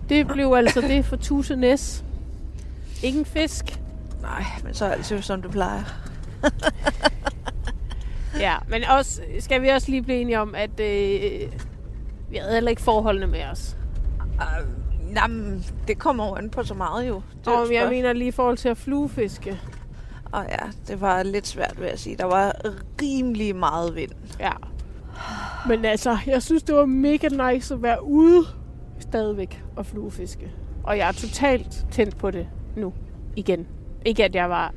[SPEAKER 2] Det blev altså det for Tuse Næs. Ingen fisk.
[SPEAKER 7] Nej, men så er det jo, som det plejer.
[SPEAKER 2] Ja, men også skal vi også lige blive enige om, at øh, vi havde heller ikke forholdene med os.
[SPEAKER 4] Jamen, det kommer jo an på så meget jo. Det er jo et
[SPEAKER 2] Og jeg
[SPEAKER 4] spørgsmål.
[SPEAKER 2] mener lige i forhold til at fluefiske.
[SPEAKER 4] Og ja, det var lidt svært, vil jeg sige. Der var rimelig meget vind.
[SPEAKER 2] Ja. Men altså, jeg synes, det var mega nice at være ude stadigvæk og fluefiske. Og jeg er totalt tændt på det nu. Igen. Ikke at jeg var...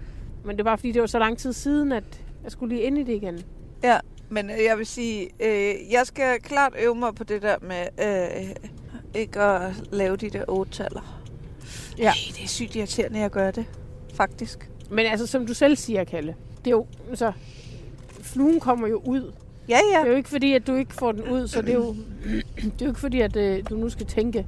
[SPEAKER 2] Men det var, fordi det var så lang tid siden, at jeg skulle lige ind i det igen.
[SPEAKER 4] Ja, men øh, jeg vil sige, øh, jeg skal klart øve mig på det der med øh, ikke at lave de der ottaller.
[SPEAKER 2] Ja.
[SPEAKER 4] Ja. Ej, det er sygt irriterende, at jeg gør det. Faktisk.
[SPEAKER 2] Men altså, som du selv siger, Kalle, det er jo... Altså, fluen kommer jo ud.
[SPEAKER 4] Ja, ja.
[SPEAKER 2] Det er jo ikke fordi, at du ikke får den ud, så det er jo, det er jo ikke fordi, at øh, du nu skal tænke.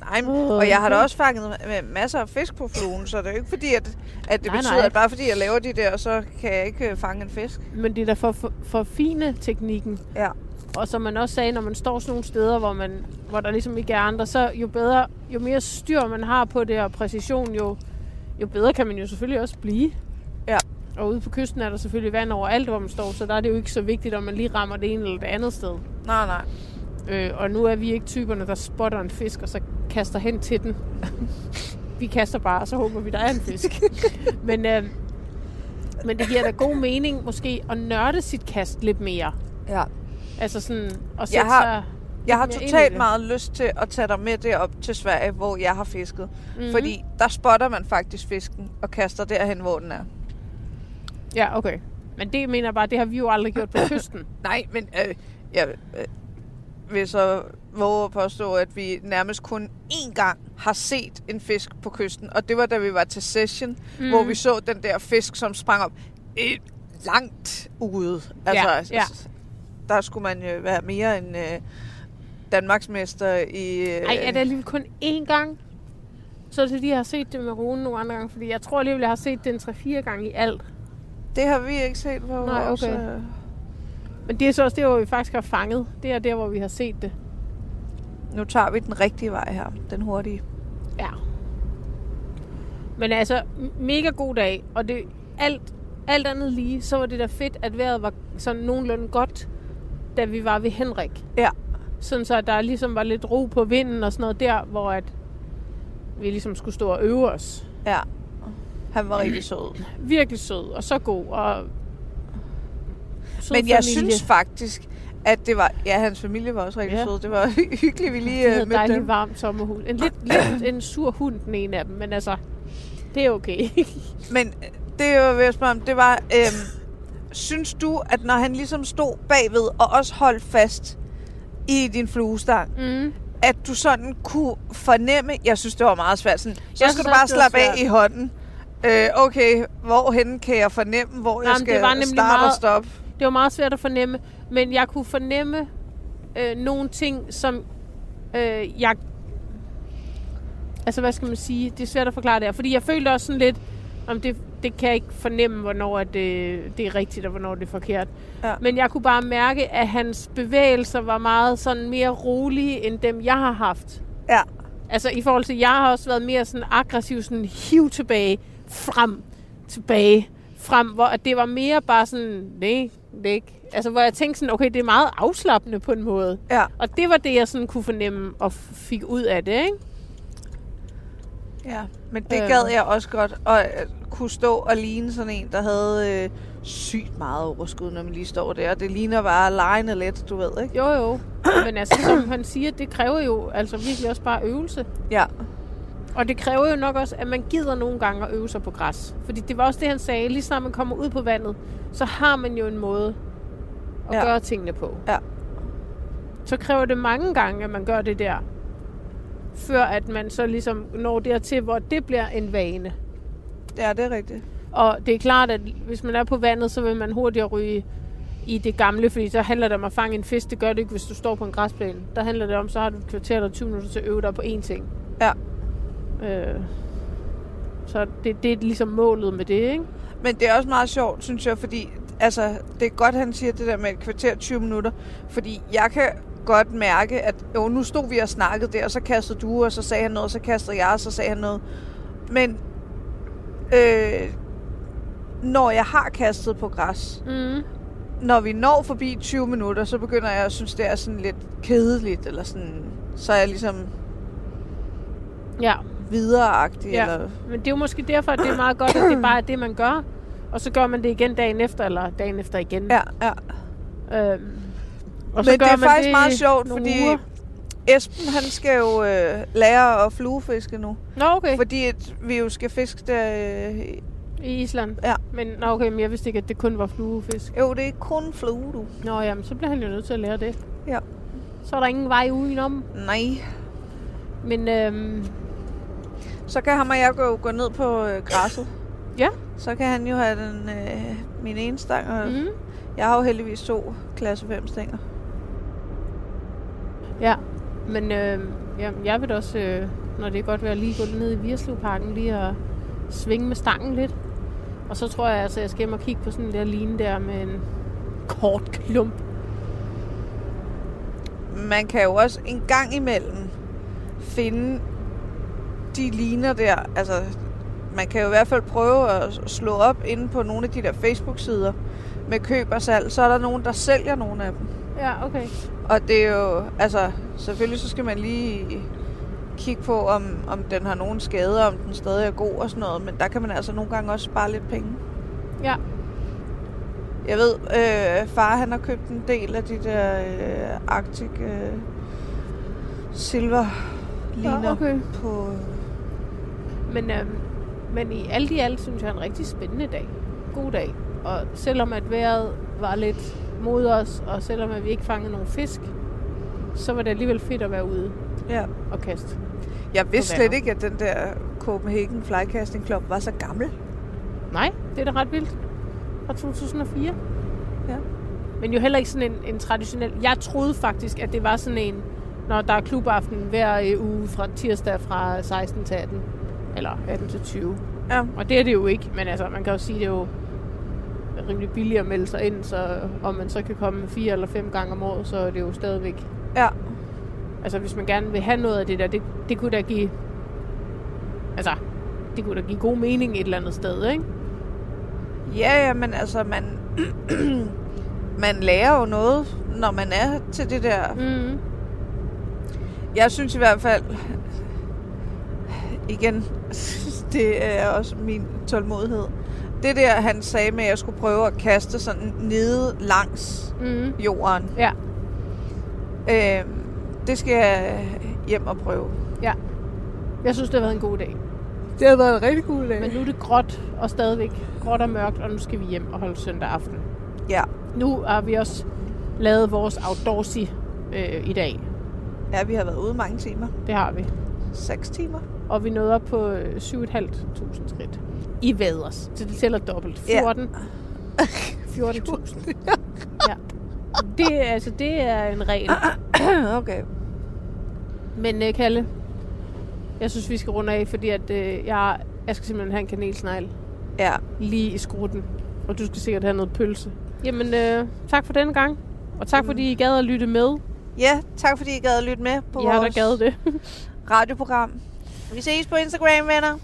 [SPEAKER 4] Nej, men-
[SPEAKER 2] Åh,
[SPEAKER 4] og jeg har da
[SPEAKER 2] okay.
[SPEAKER 4] også fanget med masser af fisk på fluen, så det er jo ikke fordi, at, at det
[SPEAKER 2] Nej,
[SPEAKER 4] nej, betyder,
[SPEAKER 2] nej.
[SPEAKER 4] nej. at bare fordi jeg laver de der, så kan jeg ikke øh, fange en fisk.
[SPEAKER 2] Men det er da for, for, for fine teknikken.
[SPEAKER 4] Ja.
[SPEAKER 2] Og som man også sagde, når man står sådan nogle steder, hvor, man, hvor der ligesom ikke er andre, så jo bedre, jo mere styr man har på det og præcision, jo, jo bedre kan man jo selvfølgelig også blive.
[SPEAKER 4] Ja.
[SPEAKER 2] Og ude på kysten er der selvfølgelig vand overalt, hvor man står, så der er det jo ikke så vigtigt, om man lige rammer det ene eller det andet sted.
[SPEAKER 4] Nej, nej.
[SPEAKER 2] Øh, og nu er vi ikke typerne, der spotter en fisk og så kaster hen til den. vi kaster bare, og så håber vi, der er en fisk. men, øh, men det giver da god mening måske at nørde sit kast lidt mere.
[SPEAKER 4] Ja.
[SPEAKER 2] Altså sådan at sætte
[SPEAKER 4] har-
[SPEAKER 2] sig...
[SPEAKER 4] Jeg har
[SPEAKER 2] mere ind i det.
[SPEAKER 4] totalt meget lyst til at tage dig med derop til Sverige, hvor jeg har fisket. Mm-hmm. Fordi der spotter man faktisk fisken og kaster derhen, hvor den er.
[SPEAKER 2] Ja, okay. Men det mener jeg bare, det har vi jo aldrig gjort på kysten.
[SPEAKER 4] Nej, men øh, jeg øh, vil så våge at påstå, at vi nærmest kun én gang har set en fisk på kysten. Og det var, da vi var til session, mm. hvor vi så den der fisk, som sprang op øh, langt ude. Altså,
[SPEAKER 2] Ja, ja.
[SPEAKER 4] der skulle man jo være mere end øh, Danmarksmester i... Øh,
[SPEAKER 2] Ej, er det alligevel kun én gang? Så er det fordi, jeg har set det med Rune nogle andre gange, fordi jeg tror alligevel, jeg har set den 3-4 gange i alt.
[SPEAKER 4] det har vi ikke set på
[SPEAKER 2] Nej,
[SPEAKER 4] vores...
[SPEAKER 2] okay.
[SPEAKER 4] øh,
[SPEAKER 2] Men det er så også der, hvor vi faktisk har fanget. Det er der, hvor vi har set det.
[SPEAKER 4] Nu tager vi den rigtige vej her, den hurtige.
[SPEAKER 2] Ja. Men altså, m- mega god dag, og det alt, alt andet lige, så var det da fedt, at vejret var sådan nogenlunde godt, da vi var ved Henrik.
[SPEAKER 4] Ja.
[SPEAKER 2] Sådan så, at der ligesom var lidt ro på vinden og sådan noget der, hvor at vi ligesom skulle stå og øve os.
[SPEAKER 4] Ja. Han var rigtig sød.
[SPEAKER 2] Virkelig sød, og så god, og sød
[SPEAKER 4] Men jeg
[SPEAKER 2] familie.
[SPEAKER 4] synes faktisk, at det var... Ja, hans familie var også rigtig
[SPEAKER 2] Ja.
[SPEAKER 4] ja. sød. Det var hyggeligt, vi
[SPEAKER 2] Det
[SPEAKER 4] lige
[SPEAKER 2] havde
[SPEAKER 4] øh,
[SPEAKER 2] et
[SPEAKER 4] mødte
[SPEAKER 2] dejligt
[SPEAKER 4] dem.
[SPEAKER 2] varmt sommerhus. En lidt, lidt en sur hund, den ene af dem, men altså, det er okay.
[SPEAKER 4] Men øh, det jeg var ved at spørge om, det var... Øhm, synes du, at når han ligesom stod bagved og også holdt fast i din fluestang,
[SPEAKER 2] mm.
[SPEAKER 4] at du sådan kunne fornemme... Jeg synes, det var meget svært. Sådan, så
[SPEAKER 2] Jeg
[SPEAKER 4] skal
[SPEAKER 2] synes
[SPEAKER 4] du
[SPEAKER 2] også,
[SPEAKER 4] bare
[SPEAKER 2] det var
[SPEAKER 4] slappe af
[SPEAKER 2] svært.
[SPEAKER 4] i hånden. Øh, okay, hvorhen kan jeg fornemme, hvor jeg
[SPEAKER 2] Jamen,
[SPEAKER 4] skal
[SPEAKER 2] det var nemlig
[SPEAKER 4] starte
[SPEAKER 2] meget-
[SPEAKER 4] og stoppe?
[SPEAKER 2] Det var meget svært at fornemme, men jeg kunne fornemme øh, nogle ting, som øh, jeg... Altså, hvad skal man sige? Det er svært at forklare det her, fordi jeg følte også sådan lidt, om det, det kan jeg ikke fornemme, hvornår at det, det er rigtigt, og hvornår det er forkert.
[SPEAKER 4] Ja.
[SPEAKER 2] Men jeg kunne bare mærke, at hans bevægelser var meget sådan mere rolige, end dem, jeg har haft.
[SPEAKER 4] Ja.
[SPEAKER 2] Altså, i forhold til, jeg har også været mere sådan aggressiv, sådan hiv tilbage, frem, tilbage, frem, hvor at det var mere bare sådan, nej, det er ikke. Altså, hvor jeg tænkte sådan, okay, det er meget afslappende på en måde.
[SPEAKER 4] Ja.
[SPEAKER 2] Og det var det, jeg sådan kunne fornemme og f- fik ud af det, ikke?
[SPEAKER 4] Ja, men det
[SPEAKER 2] Øh.
[SPEAKER 4] øh. gad jeg også godt, og øh, kunne stå og ligne sådan en, der havde øh, sygt meget overskud, når man lige står der. Det ligner bare lejende let, du ved, ikke?
[SPEAKER 2] Jo, jo. Men altså, som han siger, det kræver jo altså virkelig også bare øvelse.
[SPEAKER 4] Ja.
[SPEAKER 2] Og det kræver jo nok også, at man gider nogle gange at øve sig på græs. Fordi det var også det, han sagde. Lige snart man kommer ud på vandet, så har man jo en måde at ja.
[SPEAKER 4] Ja.
[SPEAKER 2] gøre tingene på.
[SPEAKER 4] Ja.
[SPEAKER 2] Så kræver det mange gange, at man gør det der. Før at man så ligesom når dertil, hvor det bliver en vane.
[SPEAKER 4] Ja, det er rigtigt.
[SPEAKER 2] Og det er klart, at hvis man er på vandet, så vil man hurtigere ryge i det gamle, fordi så handler det om at fange en fisk. Det gør det ikke, hvis du står på en græsplæne. Der handler det om, så har du et kvarter eller 20 minutter til at øve dig på én ting.
[SPEAKER 4] Ja.
[SPEAKER 2] Øh, så det, det er ligesom målet med det, ikke?
[SPEAKER 4] Men det er også meget sjovt, synes jeg, fordi altså, det er godt, han siger det der med et kvarter 20 minutter, fordi jeg kan godt mærke, at jo, nu stod vi og snakkede der, og så kastede du, og så sagde han noget, og så kastede jeg, og så sagde han noget. Men øh, når jeg har kastet på græs,
[SPEAKER 2] Mm.
[SPEAKER 4] når vi når forbi 20 minutter, så begynder jeg at synes, det er sådan lidt kedeligt, eller sådan, så er jeg ligesom
[SPEAKER 2] Ja,
[SPEAKER 4] videreagtig,
[SPEAKER 2] Ja.
[SPEAKER 4] ja. eller
[SPEAKER 2] men det er jo måske derfor, at det er meget godt, at det bare er det, man gør. Og så gør man det igen dagen efter, eller dagen efter igen.
[SPEAKER 4] ja, ja.
[SPEAKER 2] Øhm, og
[SPEAKER 4] Men det er faktisk
[SPEAKER 2] i
[SPEAKER 4] meget sjovt,
[SPEAKER 2] nogle
[SPEAKER 4] fordi
[SPEAKER 2] uger.
[SPEAKER 4] Esben, han skal jo øh, lære at fluefiske nu.
[SPEAKER 2] Nå, okay.
[SPEAKER 4] Fordi at vi jo skal fiske der... Øh,
[SPEAKER 2] I Island?
[SPEAKER 4] Ja.
[SPEAKER 2] Men nå, okay, men jeg vidste ikke, at det kun var fluefisk.
[SPEAKER 4] jo, det er kun flue, du.
[SPEAKER 2] Nå, jamen, så bliver han jo nødt til at lære det.
[SPEAKER 4] Ja.
[SPEAKER 2] Så er der ingen vej udenom.
[SPEAKER 4] Nej.
[SPEAKER 2] Men øhm,
[SPEAKER 4] Så kan ham og jeg gå, gå ned på øh, græsset.
[SPEAKER 2] Ja.
[SPEAKER 4] Så kan han jo have den, øh, min ene stang, og mm.
[SPEAKER 2] mm,
[SPEAKER 4] jeg har jo heldigvis to klasse 5 stænger.
[SPEAKER 2] ja. Men øhm, jamen, jeg vil da også, øh, når det er godt vejr, lige gå ned i Virslevparken lige og svinge med stangen lidt. Og så tror jeg, altså, jeg skal hjem og kigge på sådan en der line der med en kort klump.
[SPEAKER 4] Man kan jo også en gang imellem finde de ligner der. Altså, man kan jo i hvert fald prøve at slå op inde på nogle af de der Facebook-sider med køb og salg. Så er der nogen, der sælger nogle af dem.
[SPEAKER 2] Ja, okay.
[SPEAKER 4] Og det er jo, altså, selvfølgelig så skal man lige kigge på, om, om den har nogen skader, om den stadig er god og sådan noget, men der kan man altså nogle gange også spare lidt penge.
[SPEAKER 2] Ja.
[SPEAKER 4] Jeg ved, øh, far han har købt en del af de der øh, Arctic øh, silver ligner
[SPEAKER 2] Ja, okay.
[SPEAKER 4] på...
[SPEAKER 2] Men, øhm, men i alt i alt synes jeg er en rigtig spændende dag. God dag. Og selvom at vejret var lidt mod os, og selvom at vi ikke fangede nogen fisk, så var det alligevel fedt at være ude
[SPEAKER 4] Ja.
[SPEAKER 2] og kaste.
[SPEAKER 4] Jeg vidste
[SPEAKER 2] vandet.
[SPEAKER 4] slet ikke, at den der Copenhagen Flycasting Club var så gammel.
[SPEAKER 2] Nej, det er da ret vildt. Fra 2004.
[SPEAKER 4] Ja.
[SPEAKER 2] Men jo heller ikke sådan en, en traditionel... Jeg troede faktisk, at det var sådan en, når der er klubaften hver øh, uge fra tirsdag fra 16 til 18. Eller 18 til 20.
[SPEAKER 4] Ja.
[SPEAKER 2] Og det er det jo ikke, men altså, man kan jo sige, det er jo rimelig billigt at melde sig ind, så om man så kan komme fire eller fem gange om året, så er det jo stadigvæk...
[SPEAKER 4] Ja.
[SPEAKER 2] Altså, hvis man gerne vil have noget af det der, det, det kunne da give... Altså, det kunne da give god mening et eller andet sted, ikke?
[SPEAKER 4] Ja, ja, men altså, man, man lærer jo noget, når man er til det der
[SPEAKER 2] Mm.
[SPEAKER 4] Jeg synes i hvert fald, igen, det er også min tålmodighed. Det der, han sagde med, at jeg skulle prøve at kaste sådan nede langs
[SPEAKER 2] Mm.
[SPEAKER 4] jorden,
[SPEAKER 2] Ja,
[SPEAKER 4] øh, det skal jeg hjem og prøve.
[SPEAKER 2] jeg synes, det har været en god dag.
[SPEAKER 4] Det har været en rigtig god dag.
[SPEAKER 2] Men nu er det gråt, og stadigvæk gråt og mørkt, og nu skal vi hjem og holde søndag aften.
[SPEAKER 4] Ja.
[SPEAKER 2] Nu har vi også lavet vores outdoorsy øh, i dag.
[SPEAKER 4] Ja, vi har været ude mange timer.
[SPEAKER 2] Det har vi.
[SPEAKER 4] 6 timer.
[SPEAKER 2] og vi nåede op på øh, 7.500 skridt i vaders. Så det tæller dobbelt.
[SPEAKER 4] Ja.
[SPEAKER 2] 14. 14.000. ja. Det, er- altså, det er en regel.
[SPEAKER 4] okay.
[SPEAKER 2] Men øh, Kalle, jeg synes, vi skal runde af, fordi at, øh, jeg, jeg skal simpelthen have en kanelsnegl
[SPEAKER 4] Ja.
[SPEAKER 2] lige i skrutten. Og du skal sikkert have noget pølse. Jamen, øh, tak for denne gang. Og tak, fordi I gad at lytte med.
[SPEAKER 4] Ja, tak fordi I gad at lytte med på
[SPEAKER 2] Jeg har da
[SPEAKER 4] vores
[SPEAKER 2] gad det.
[SPEAKER 4] radioprogram. Vi ses på Instagram, venner.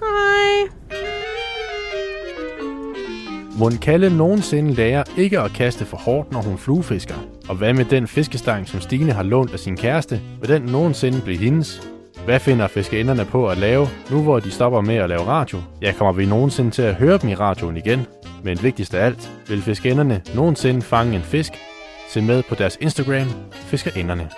[SPEAKER 2] Hej.
[SPEAKER 3] Mon Kalle nogensinde lærer ikke at kaste for hårdt, når hun fluefisker? Og hvad med den fiskestang, som Stine har lånt af sin kæreste? Vil den nogensinde blive hendes? Hvad finder fiskeenderne på at lave, nu hvor de stopper med at lave radio? Ja, kommer vi nogensinde til at høre dem i radioen igen? Men vigtigst af alt, vil fiskeenderne nogensinde fange en fisk? Se med på deres Instagram, Fiskerinderne.